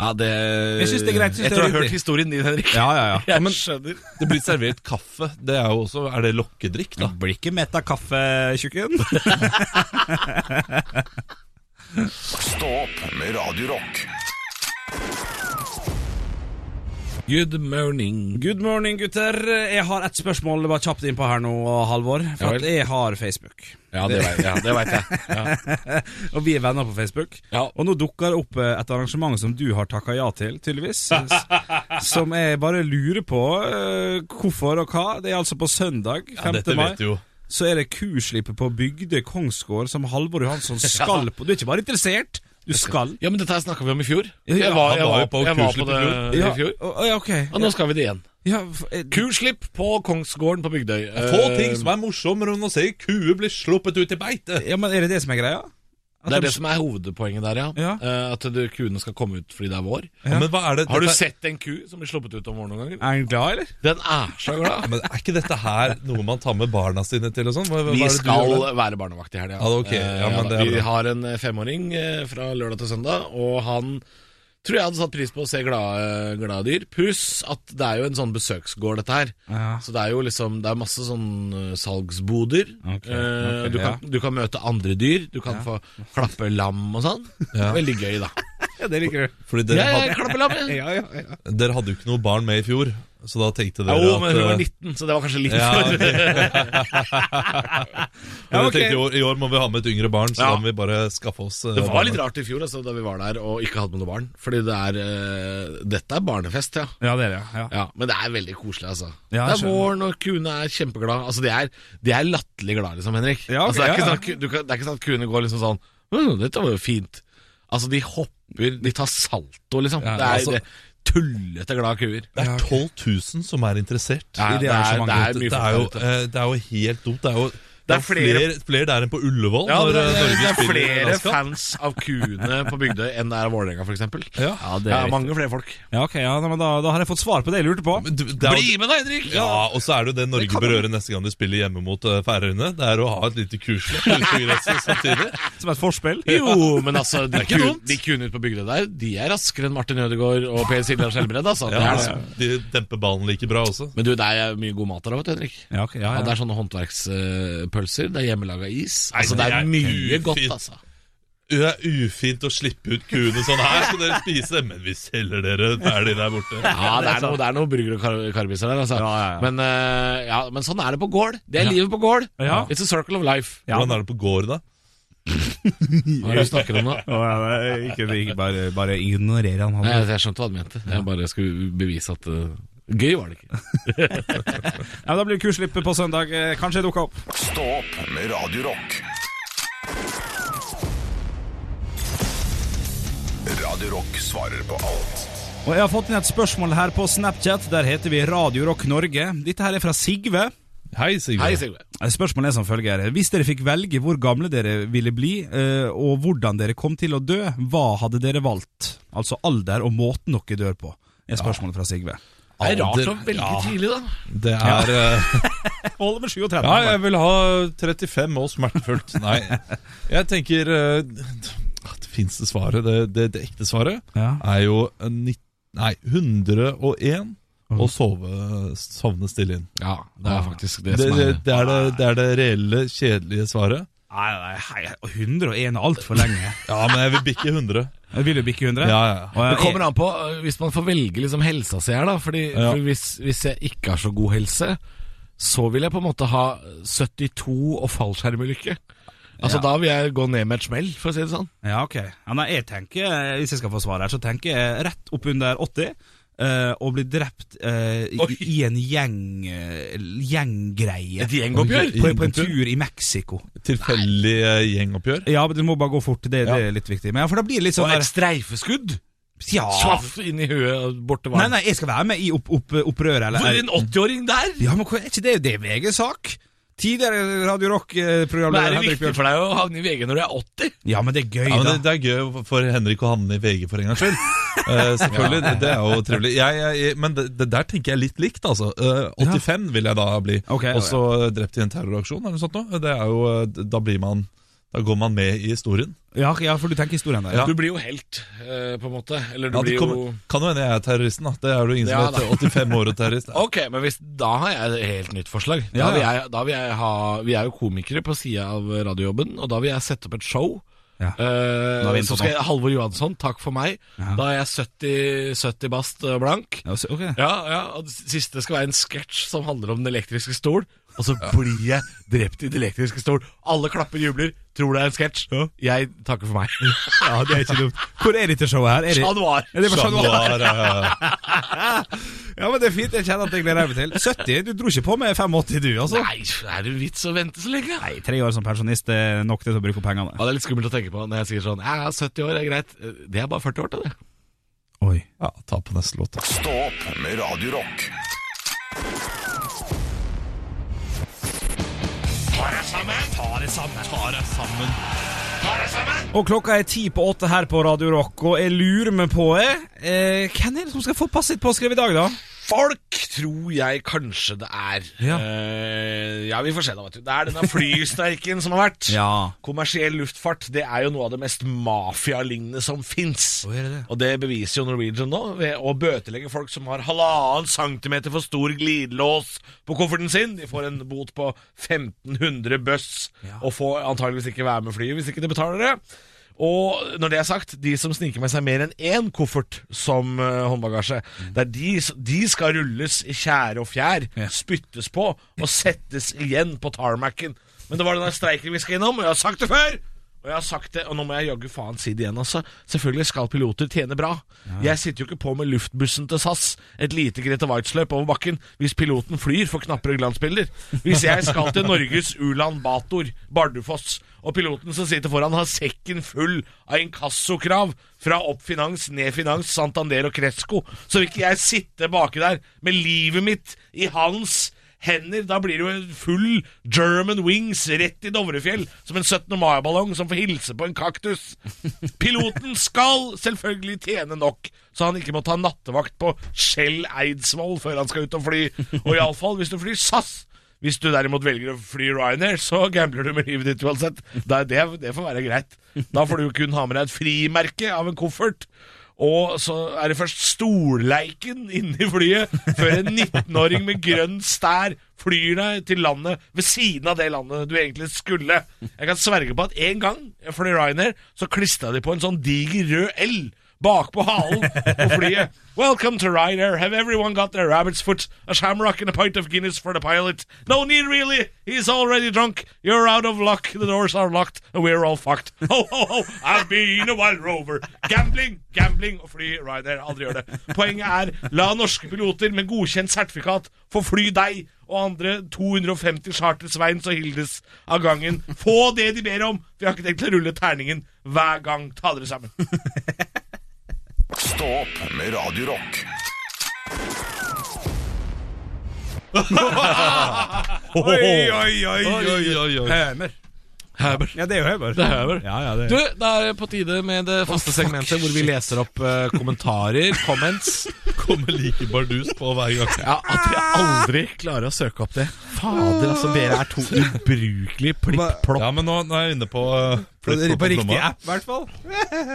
[SPEAKER 5] Ja, det
[SPEAKER 4] Jeg synes det er greit, synes
[SPEAKER 5] Etter å
[SPEAKER 4] det er
[SPEAKER 5] ha hørt
[SPEAKER 4] ryddig.
[SPEAKER 5] historien din, Henrik.
[SPEAKER 4] Ja, ja, ja.
[SPEAKER 5] Jeg skjønner.
[SPEAKER 3] Det blir servert kaffe. Det er jo også Er det lokkedrikk, da?
[SPEAKER 4] Blir ikke mett av kaffe, tjukken.
[SPEAKER 1] Stå opp med Radio Rock.
[SPEAKER 5] Good morning.
[SPEAKER 4] Good morning, gutter. Jeg har ett spørsmål bare kjapt innpå her nå, Halvor. For
[SPEAKER 5] Ja vel.
[SPEAKER 4] at jeg har Facebook.
[SPEAKER 5] Ja, det veit ja, det vet jeg. Ja.
[SPEAKER 4] Og vi er venner på Facebook.
[SPEAKER 5] Ja.
[SPEAKER 4] Og nå dukker det opp eh, et arrangement som du har takka ja til, tydeligvis. s- som jeg bare lurer på eh, hvorfor og hva. Det er altså på søndag 5.
[SPEAKER 3] Dette
[SPEAKER 4] mai.
[SPEAKER 3] vet du jo.
[SPEAKER 4] Så er det kurslippet på Bygdøy Kongsgård som Halvor Johansson skal på. Du er ikke bare interessert, du skal.
[SPEAKER 5] ja, men dette her snakka vi om i fjor.
[SPEAKER 4] Ja, ja,
[SPEAKER 5] Jeg var,
[SPEAKER 3] han
[SPEAKER 5] jeg
[SPEAKER 3] var
[SPEAKER 5] var,
[SPEAKER 3] jo på
[SPEAKER 5] jeg var på
[SPEAKER 3] kurslipp i
[SPEAKER 5] det i
[SPEAKER 4] Ja,
[SPEAKER 5] fjor.
[SPEAKER 4] å- ja, ok.
[SPEAKER 5] Og nå skal vi det igjen.
[SPEAKER 4] Ja, for- eh,
[SPEAKER 5] Kurslipp på Kongsgården på Bygdøy. Eh,
[SPEAKER 3] Få ting som er morsommere enn å se kuer bli sluppet ut i beite.
[SPEAKER 4] ja, men er det det som er greia? At
[SPEAKER 5] Det er
[SPEAKER 4] de-
[SPEAKER 5] det som er hovedpoenget der, ja.
[SPEAKER 4] Ja.
[SPEAKER 5] Eh, At du, kuene skal komme ut fordi det er vår.
[SPEAKER 3] Ja, men hva er det
[SPEAKER 5] Har du
[SPEAKER 3] dette-
[SPEAKER 5] sett en ku som blir sluppet ut om våren noen ganger?
[SPEAKER 4] Er han glad, eller?
[SPEAKER 5] Den er så
[SPEAKER 3] Ja,
[SPEAKER 5] glad.
[SPEAKER 3] men Er ikke dette her noe man tar med barna sine til og sånn? Hva- hva
[SPEAKER 5] Vi
[SPEAKER 3] er det du gjør
[SPEAKER 5] skal
[SPEAKER 3] der?
[SPEAKER 5] være barnevakt i helga.
[SPEAKER 3] Ja, ok.
[SPEAKER 5] Eh,
[SPEAKER 3] Ja, men
[SPEAKER 5] da.
[SPEAKER 3] det er
[SPEAKER 5] vi
[SPEAKER 3] bra.
[SPEAKER 5] har en eh, femåring eh, fra lørdag til søndag, og han tror jeg hadde satt pris på å se glade, glade dyr. Pluss at det er jo en sånn besøksgård, dette her.
[SPEAKER 4] Ja.
[SPEAKER 5] Så det er jo liksom Det er masse sånn eh, salgsboder.
[SPEAKER 4] Ok,
[SPEAKER 5] Eh,
[SPEAKER 4] ok,
[SPEAKER 5] du, kan, du kan møte andre dyr. Du kan få klappe lam og sånn. Veldig gøy, da.
[SPEAKER 4] Ja, det liker du.
[SPEAKER 3] Fordi dere,
[SPEAKER 5] Ja, jeg
[SPEAKER 3] hadde,
[SPEAKER 5] klapper lam, jeg.
[SPEAKER 4] Ja, ja, ja.
[SPEAKER 3] dere hadde jo ikke noe barn med i fjor, så da tenkte dere
[SPEAKER 5] Jo, men hun var
[SPEAKER 3] at eh,
[SPEAKER 5] 19, så det var kanskje litt
[SPEAKER 3] ja,
[SPEAKER 5] for-
[SPEAKER 3] ok. Men
[SPEAKER 4] Ja,
[SPEAKER 3] jeg
[SPEAKER 4] ok.
[SPEAKER 3] tenkte, i, år, I år må vi ha med et yngre barn, så
[SPEAKER 5] Ja.
[SPEAKER 3] da må vi bare skaffe oss eh,
[SPEAKER 5] Det var
[SPEAKER 3] barn.
[SPEAKER 5] litt rart i fjor altså, da vi var der og ikke hadde med noe barn. Fordi det er eh, Dette er barnefest, ja.
[SPEAKER 4] ja, det er det. Ja.
[SPEAKER 5] ja. Men det er veldig koselig, altså.
[SPEAKER 4] Ja, jeg
[SPEAKER 5] det er våren, og kuene er kjempeglade. Altså, de er, de er latterlig glade, liksom, Henrik.
[SPEAKER 4] Ja, ok,
[SPEAKER 5] altså, det, er
[SPEAKER 4] ja,
[SPEAKER 5] ikke
[SPEAKER 4] ja.
[SPEAKER 5] sånn, at ku- du kan, det er ikke sånn at kuene går liksom sånn «Åh, Dette var jo fint. Altså, de hopper, de tar salto, liksom.
[SPEAKER 4] Ja,
[SPEAKER 5] det er
[SPEAKER 4] altså-
[SPEAKER 5] det, tullete glade kuer.
[SPEAKER 3] Det er 12 000 som er interessert.
[SPEAKER 5] Ja,
[SPEAKER 4] i det
[SPEAKER 5] det, er, det
[SPEAKER 4] arrangementet.
[SPEAKER 5] er
[SPEAKER 3] det,
[SPEAKER 5] mye
[SPEAKER 3] det, er jo,
[SPEAKER 5] folk der ute.
[SPEAKER 3] eh, det er jo helt dumt. Det er jo
[SPEAKER 5] Det er
[SPEAKER 3] flere,
[SPEAKER 5] flere-
[SPEAKER 3] flere der enn på Ullevål
[SPEAKER 5] Ja,
[SPEAKER 3] når
[SPEAKER 5] det,
[SPEAKER 3] eh,
[SPEAKER 5] er-
[SPEAKER 3] Norge
[SPEAKER 5] det er
[SPEAKER 3] spiller
[SPEAKER 5] flere
[SPEAKER 3] landskap.
[SPEAKER 5] fans av kuene på Bygdøy enn det er av Vålerenga, f.eks.
[SPEAKER 4] Ja. Ja, det er riktig.
[SPEAKER 5] mange flere folk.
[SPEAKER 4] Ja, ok, ja, nei, men da, da har jeg fått svar på det jeg lurte på.
[SPEAKER 3] Men du- det er jo-
[SPEAKER 5] med, da, Henrik!
[SPEAKER 3] Ja, og så er det jo det Norge bør gjøre neste gang du spiller hjemme mot eh, Færøyene. Det er å ha et lite kursløp ute på gresset samtidig.
[SPEAKER 4] Som et forspill.
[SPEAKER 5] Jo, men altså, de,
[SPEAKER 3] ikke
[SPEAKER 5] kun,
[SPEAKER 3] dumt.
[SPEAKER 5] de kuene ute på Bygdøy der, de er raskere enn Martin Ødegaard og Per Siljan Skjelbred, altså.
[SPEAKER 3] Ja,
[SPEAKER 5] Det er
[SPEAKER 3] altså,
[SPEAKER 5] det.
[SPEAKER 3] De demper ballen like bra også.
[SPEAKER 5] Men du, det er mye god mat der òg, vet du, Henrik.
[SPEAKER 4] Ja, ok, ja,
[SPEAKER 5] Ja, det
[SPEAKER 4] ja.
[SPEAKER 5] er sånne håndverkspølser, det er hjemmelaga is.
[SPEAKER 3] Nei,
[SPEAKER 5] Altså, det
[SPEAKER 3] det
[SPEAKER 5] er
[SPEAKER 3] er
[SPEAKER 5] mye
[SPEAKER 3] ufint.
[SPEAKER 5] godt, altså.
[SPEAKER 3] Det er ufint å slippe ut kuene sånn her, skal dere spise det? Men vi selger dere ferdig der borte.
[SPEAKER 5] Ja, det er noe, det er noe burger og kar karbiser der, altså.
[SPEAKER 4] Ja, ja, ja.
[SPEAKER 5] Men, eh, ja, men sånn er det på gård. Det er livet på gård.
[SPEAKER 4] Ja.
[SPEAKER 5] It's a circle of life.
[SPEAKER 4] Ja.
[SPEAKER 3] Hvordan er det på gård, da?
[SPEAKER 5] Hva er det du snakker om nå?
[SPEAKER 4] Å, ja, nei, ikke, ikke bare, bare ignorerer han.
[SPEAKER 5] Nei,
[SPEAKER 4] han.
[SPEAKER 5] jeg skjønte hva du mente. Jeg bare skulle bevise at eh, Gøy var det ikke.
[SPEAKER 4] Ja, men da blir det kurslippet på søndag. Eh, Kanskje jeg dukker opp.
[SPEAKER 1] Stå opp med Radio Rock. Radio Rock svarer på alt.
[SPEAKER 4] Og jeg har fått inn et spørsmål her på Snapchat. Der heter vi Radio Rock Norge. Dette her er fra Sigve.
[SPEAKER 3] Hei, Sigurd.
[SPEAKER 5] Hei, Sigve.
[SPEAKER 4] Eh, Spørsmålet er som følger. Hvis dere fikk velge hvor gamle dere ville bli, eh, og hvordan dere kom til å dø, hva hadde dere valgt? Altså alder og måten dere dør på, er spørsmålet fra Sigve.
[SPEAKER 5] Det er rart å
[SPEAKER 3] Alder-
[SPEAKER 5] velge
[SPEAKER 3] ja.
[SPEAKER 5] tidlig, da.
[SPEAKER 3] Det er eh,
[SPEAKER 4] Jeg holder med 37.
[SPEAKER 3] Ja, jeg vil ha 35 og smertefullt. Nei, jeg tenker eh, at det fineste svaret, det, det, det ekte svaret,
[SPEAKER 4] Ja.
[SPEAKER 3] er jo en nitt- Nei, 101 og sove, sovne stille inn.
[SPEAKER 5] Ja, det er faktisk det,
[SPEAKER 3] Det,
[SPEAKER 5] som
[SPEAKER 3] det,
[SPEAKER 5] er
[SPEAKER 3] det, er det, det er det reelle, kjedelige svaret.
[SPEAKER 4] Nei, nei, hei, 101 er altfor lenge.
[SPEAKER 3] Ja, men jeg vil bikke 100.
[SPEAKER 4] Jeg vil jo bikke 100.
[SPEAKER 3] Ja, ja, ja.
[SPEAKER 4] Og jeg-
[SPEAKER 5] Det kommer an på øh, hvis man får velge liksom helsa si her, da. Fordi,
[SPEAKER 3] Ja.
[SPEAKER 5] for hvis, hvis jeg ikke har så god helse, så vil jeg på en måte ha 72 og fallskjermulykke. Altså Da vil jeg gå ned med et smell, for å si det sånn.
[SPEAKER 4] Ja, ok. Ja, nei, jeg tenker, eh, hvis jeg skal få svar her, så tenker jeg rett opp under 80. eh, og bli drept eh, i, i en gjeng eh, gjenggreie.
[SPEAKER 5] Et gjengoppgjør?
[SPEAKER 4] På, på en tur i Mexico.
[SPEAKER 3] Tilfeldig eh, gjengoppgjør.
[SPEAKER 4] Ja, men du må bare gå fort. Det, det er litt viktig. Men ja, for da blir det litt sånn
[SPEAKER 5] Og
[SPEAKER 4] der,
[SPEAKER 5] et streifeskudd?
[SPEAKER 4] Ja.
[SPEAKER 5] Svaff inn i huet og bort til
[SPEAKER 4] Nei,
[SPEAKER 5] vann.
[SPEAKER 4] nei, jeg skal være med i opp, opp, opprøret. Eller,
[SPEAKER 5] For en 80-åring der!
[SPEAKER 4] Ja, men hva- er ikke det det er VG-sak? Tidligere Radio
[SPEAKER 5] Men er
[SPEAKER 4] Rock-programleder
[SPEAKER 5] det
[SPEAKER 4] Henrik
[SPEAKER 5] viktig
[SPEAKER 4] Bjørn.
[SPEAKER 5] for deg å havne i VG når du er 80?
[SPEAKER 4] Ja, men det er gøy,
[SPEAKER 3] Ja, men
[SPEAKER 4] da.
[SPEAKER 3] det, det er gøy for Henrik å havne i VG for en gangs skyld. Eh, selvfølgelig, det, det er jo trivelig. Jeg, jeg, jeg, men det, det der tenker jeg litt likt, altså. Eh, 85 vil jeg da bli.
[SPEAKER 4] Ok, ja,
[SPEAKER 3] Også eh, drept i en terroraksjon eller noe sånt. nå. Det er jo, eh, da blir man Da går man med i historien.
[SPEAKER 4] Ja, ja, for du tenker historien der.
[SPEAKER 3] Ja.
[SPEAKER 5] Du blir jo helt, eh, på en måte. Eller du
[SPEAKER 3] Ja, det
[SPEAKER 5] blir
[SPEAKER 3] kommer,
[SPEAKER 5] jo
[SPEAKER 3] kan jo hende jeg er terroristen, da. Det er jo ingen som
[SPEAKER 5] Ja,
[SPEAKER 3] vet. 85 år og terrorist.
[SPEAKER 5] Ok, men hvis, da har jeg et helt nytt forslag. Da
[SPEAKER 4] Ja,
[SPEAKER 5] vil
[SPEAKER 4] ja.
[SPEAKER 5] jeg, da vil jeg ha, vi er jo komikere på sida av radiojobben, og da vil jeg sette opp et show.
[SPEAKER 4] Ja.
[SPEAKER 5] Eh,
[SPEAKER 4] Da er vi inne på
[SPEAKER 5] så skal jeg, Halvor Johansson, takk for meg. Da er jeg 70, 70 bast eh, blank.
[SPEAKER 4] Ja, så- ok.
[SPEAKER 5] Ja, ja, og det siste skal være en sketsj som handler om den elektriske stol. Og så blir jeg drept i den elektriske stol. Alle klapper, jubler, tror det er en sketsj. Jeg takker for meg.
[SPEAKER 4] ja, det er ikke dumt. Hvor er dette showet her? Er det,
[SPEAKER 5] Chat Noir.
[SPEAKER 4] er det på Chat Noir?
[SPEAKER 3] Januar, eh,
[SPEAKER 4] Ja, men det er fint. Jeg kjenner at jeg gleder meg til. 70? Du dro ikke på med 85, du, altså?
[SPEAKER 5] Nei, er det vits å vente så lenge?
[SPEAKER 4] Nei, tre år som pensjonist er nok til å bruke opp pengene.
[SPEAKER 5] Ja, det er litt skummelt å tenke på når jeg sier sånn Ja, 70 år er greit. Eh, Det er bare 40 år til det.
[SPEAKER 4] Oi.
[SPEAKER 3] ja, ta på neste låt. da.
[SPEAKER 1] Stå opp med Radio Rock.
[SPEAKER 4] Og klokka er ti på åtte her på Radio Rock, og jeg lurer meg på eh, eh, Hvem er det som skal få passet sitt påskrevet i dag, da?
[SPEAKER 5] Folk tror jeg kanskje det er.
[SPEAKER 4] Ja.
[SPEAKER 5] Eh, ja vi får se, da. vet du Det er denne flystreiken som har vært. Kommersiell luftfart det er jo noe av det mest mafialignende som fins.
[SPEAKER 4] Å, er det det?
[SPEAKER 5] Og det beviser jo Norwegian nå, ved å bøtelegge folk som har halvannen centimeter for stor glidelås på kofferten sin. De får en bot på 1500 bøss, og får antageligvis ikke være med flyet hvis ikke de betaler det. Og når det er sagt, de som sniker med seg mer enn én koffert som eh, håndbagasje, det er de, s- de skal rulles i tjære og fjær,
[SPEAKER 4] Ja.
[SPEAKER 5] spyttes på og settes igjen på tarmacen. Men det var den der streiken vi skal innom, og jeg har sagt det før! Og jeg har sagt det, og nå må jeg jaggu faen si det igjen, altså. Selvfølgelig skal piloter tjene bra. Jeg sitter jo ikke på med luftbussen til SAS, et lite Grete Waitz-løp over bakken, hvis piloten flyr for knapper og glansbilder. Hvis jeg skal til Norges Ulan Bator, Bardufoss, og piloten som sitter foran har sekken full av inkassokrav fra Oppfinans, Nedfinans, Santander og Cresco, så vil ikke jeg sitte baki der med livet mitt i hans hender. Da blir det jo en full German wings rett i Dovrefjell, som en 17. mai-ballong som får hilse på en kaktus. Piloten skal selvfølgelig tjene nok, så han ikke må ta nattevakt på Skjell Eidsvoll før han skal ut og fly. Og iallfall hvis du flyr SAS. Hvis du derimot velger å fly Ryanair, så gambler du med livet ditt uansett. Det, er- det, det får være greit. Da får du jo kun ha med deg et frimerke av en koffert. Og så er det først storleiken inni flyet, før en 19-åring med grønn stær flyr deg til landet ved siden av det landet du egentlig skulle. Jeg kan sverge på at en gang jeg fløy Ryanair, så klistra de på en sånn diger rød L bakpå halen på flyet. Welcome to Ryanair. Have everyone got their rabbit's foot? A shamrock and a pint of Guinness for the pilot. No need really. He's already drunk. You're out of luck. The doors are locked and we're all fucked. Ho, ho, ho. I've been a wild rover. Gambling, gambling og fly Ryanair. Aldri gjør det. Poenget er, la norske piloter med godkjent sertifikat få fly deg og andre 250 chartersveins og Hildes av gangen. Få det de ber om, for jeg har ikke tenkt å rulle terningen hver gang. Ta dere sammen.
[SPEAKER 1] Stå opp med Radio Rock.
[SPEAKER 4] Oi, oi, oi, oi.
[SPEAKER 3] Oi, oi, oi.
[SPEAKER 4] Hømer. Ja, det er jo Hømer.
[SPEAKER 5] Det er Hømer.
[SPEAKER 4] Ja, ja, det
[SPEAKER 5] Du,
[SPEAKER 4] er.
[SPEAKER 5] det er på tide med det faste segmentet hvor vi leser opp eh, kommentarer, comments.
[SPEAKER 3] Kommer like bardus på hver gang.
[SPEAKER 5] Ja, At vi aldri klarer å søke opp det. Fader, altså, dere er to ubrukelige plipp-plopp.
[SPEAKER 3] Ja, men nå, nå er jeg inne på eh,
[SPEAKER 4] På,
[SPEAKER 3] flytt
[SPEAKER 4] på riktig
[SPEAKER 3] plomma.
[SPEAKER 4] app, i hvert fall.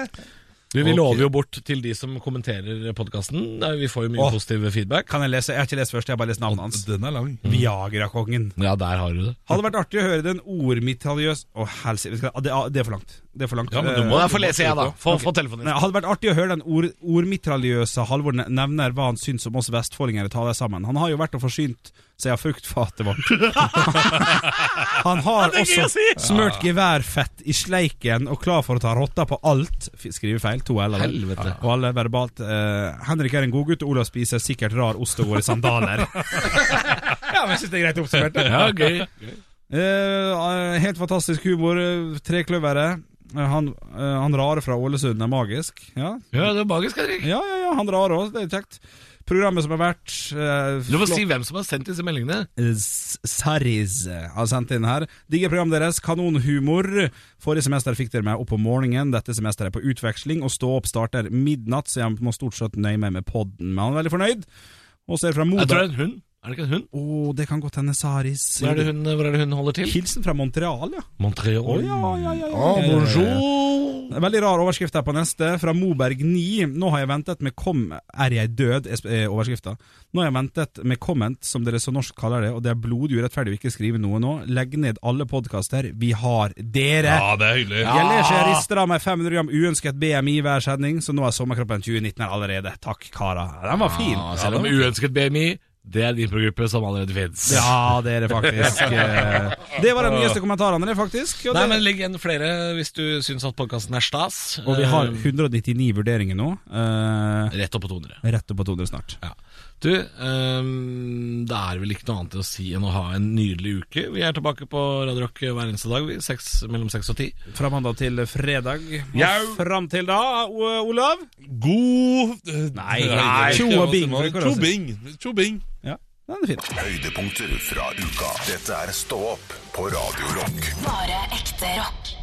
[SPEAKER 5] Vi, vi
[SPEAKER 3] Ok.
[SPEAKER 5] lover jo bort til de som kommenterer podkasten. Vi får jo mye
[SPEAKER 4] Åh.
[SPEAKER 5] positiv feedback.
[SPEAKER 4] Kan jeg lese? Jeg har ikke lest først, jeg har bare lest navnet hans.
[SPEAKER 3] Den er lang.
[SPEAKER 4] Viagra-kongen.
[SPEAKER 5] Ja, der har du det.
[SPEAKER 4] Hadde vært artig å høre den ordmitraljøs Å, helsike, vet du hva, det, ah, det er for langt. Det er for langt.
[SPEAKER 3] Ja, men du
[SPEAKER 4] Eh,
[SPEAKER 3] må-
[SPEAKER 5] får lese jeg, da. Få, få telefonen
[SPEAKER 4] Nei, hadde vært artig å høre den ord, ordmitraljøse Halvor ne- nevner hva han syns om oss vestfoldinger taler sammen. Han har jo vært og forsynt seg av fruktfatet vårt. han har
[SPEAKER 5] det er gøy
[SPEAKER 4] også
[SPEAKER 5] å si!
[SPEAKER 4] smørt geværfett i sleiken og klar for å ta rotta på alt. F- Skriver feil, to eller
[SPEAKER 5] Helvete.
[SPEAKER 4] Og alle verbalt. eh, Henrik er en godgutt, og Olav spiser sikkert rar ost og går i sandaler. ja, men jeg synes det er greit oppsummert. det.
[SPEAKER 5] Ja, gøy.
[SPEAKER 4] Eh, helt fantastisk humor. eh, Trekløveret. Eh, Han, eh, han rare fra Ålesund er magisk. Ja,
[SPEAKER 6] Ja, det er magisk, Henrik.
[SPEAKER 4] ja, ja, ja han rare òg, det er kjekt. Programmet som har vært eh,
[SPEAKER 6] Du må
[SPEAKER 4] flott-
[SPEAKER 6] si hvem som har sendt disse meldingene.
[SPEAKER 4] Eh, S- Saris har sendt inn her. Digger programmet deres, kanonhumor. Forrige semester fikk dere meg opp om morgenen, dette semesteret er på utveksling, og stå opp starter midnatt, så jeg må stort sett nøye meg med podden. Men han er veldig fornøyd. Og så er det fra
[SPEAKER 6] Jeg tror det
[SPEAKER 4] Modar.
[SPEAKER 6] er en hund. Er det ikke en hund?
[SPEAKER 4] Å, det kan godt hende Saris.
[SPEAKER 6] Hvor er det hun, hvor er det hun holder til?
[SPEAKER 4] Hilsen fra Montreal, ja.
[SPEAKER 6] Montreal.
[SPEAKER 4] Å, ja, ja, ja, ja, ja, ja,
[SPEAKER 6] Ah,
[SPEAKER 4] ja.
[SPEAKER 6] bonjour.
[SPEAKER 4] Veldig rar overskrift her på neste, fra Moberg 9. Nå har jeg ventet med kom... Er jeg død? er sp- er overskrifta. Nå har jeg ventet med comment, som dere så norsk kaller det, og det er blodig urettferdig å ikke skrive noe nå. Legg ned alle podkaster. Vi har dere!
[SPEAKER 5] Ja, det er hyggelig.
[SPEAKER 4] Jeg ler så jeg rister av meg 500 gram uønsket BMI i hver sending, så nå er sommerkroppen 2019 her allerede. Takk, kara. Den var fin.
[SPEAKER 6] Ja, selv om uønsket BMI, det er en infogruppe som allerede fins.
[SPEAKER 4] Ja, det er det faktisk. Eh, Det var de nyeste kommentarene, det, faktisk. Og,
[SPEAKER 6] Nei,
[SPEAKER 4] det,
[SPEAKER 6] men Legg igjen flere hvis du syns at podkasten er stas.
[SPEAKER 4] og vi har
[SPEAKER 6] Eh,
[SPEAKER 4] 199 vurderinger nå. eh,
[SPEAKER 6] Rett opp på 200.
[SPEAKER 4] Rett opp på 200 snart.
[SPEAKER 6] Ja. Du, ehm, det er vel ikke noe annet å si enn å ha en nydelig uke. Vi er tilbake på Radio Rock hver eneste dag, vi. Seks, mellom seks og ti.
[SPEAKER 4] Fra mandag til fredag. Og
[SPEAKER 6] Jau!
[SPEAKER 4] fram til da, O- Olav
[SPEAKER 5] God
[SPEAKER 4] Nei, tjo og bing, for det går
[SPEAKER 5] Tjo
[SPEAKER 4] også.
[SPEAKER 5] bing. Tjo bing.
[SPEAKER 4] Ja, den er fin.
[SPEAKER 1] Høydepunkter fra uka. Dette er Stå opp på Radio Rock.
[SPEAKER 2] Bare ekte rock.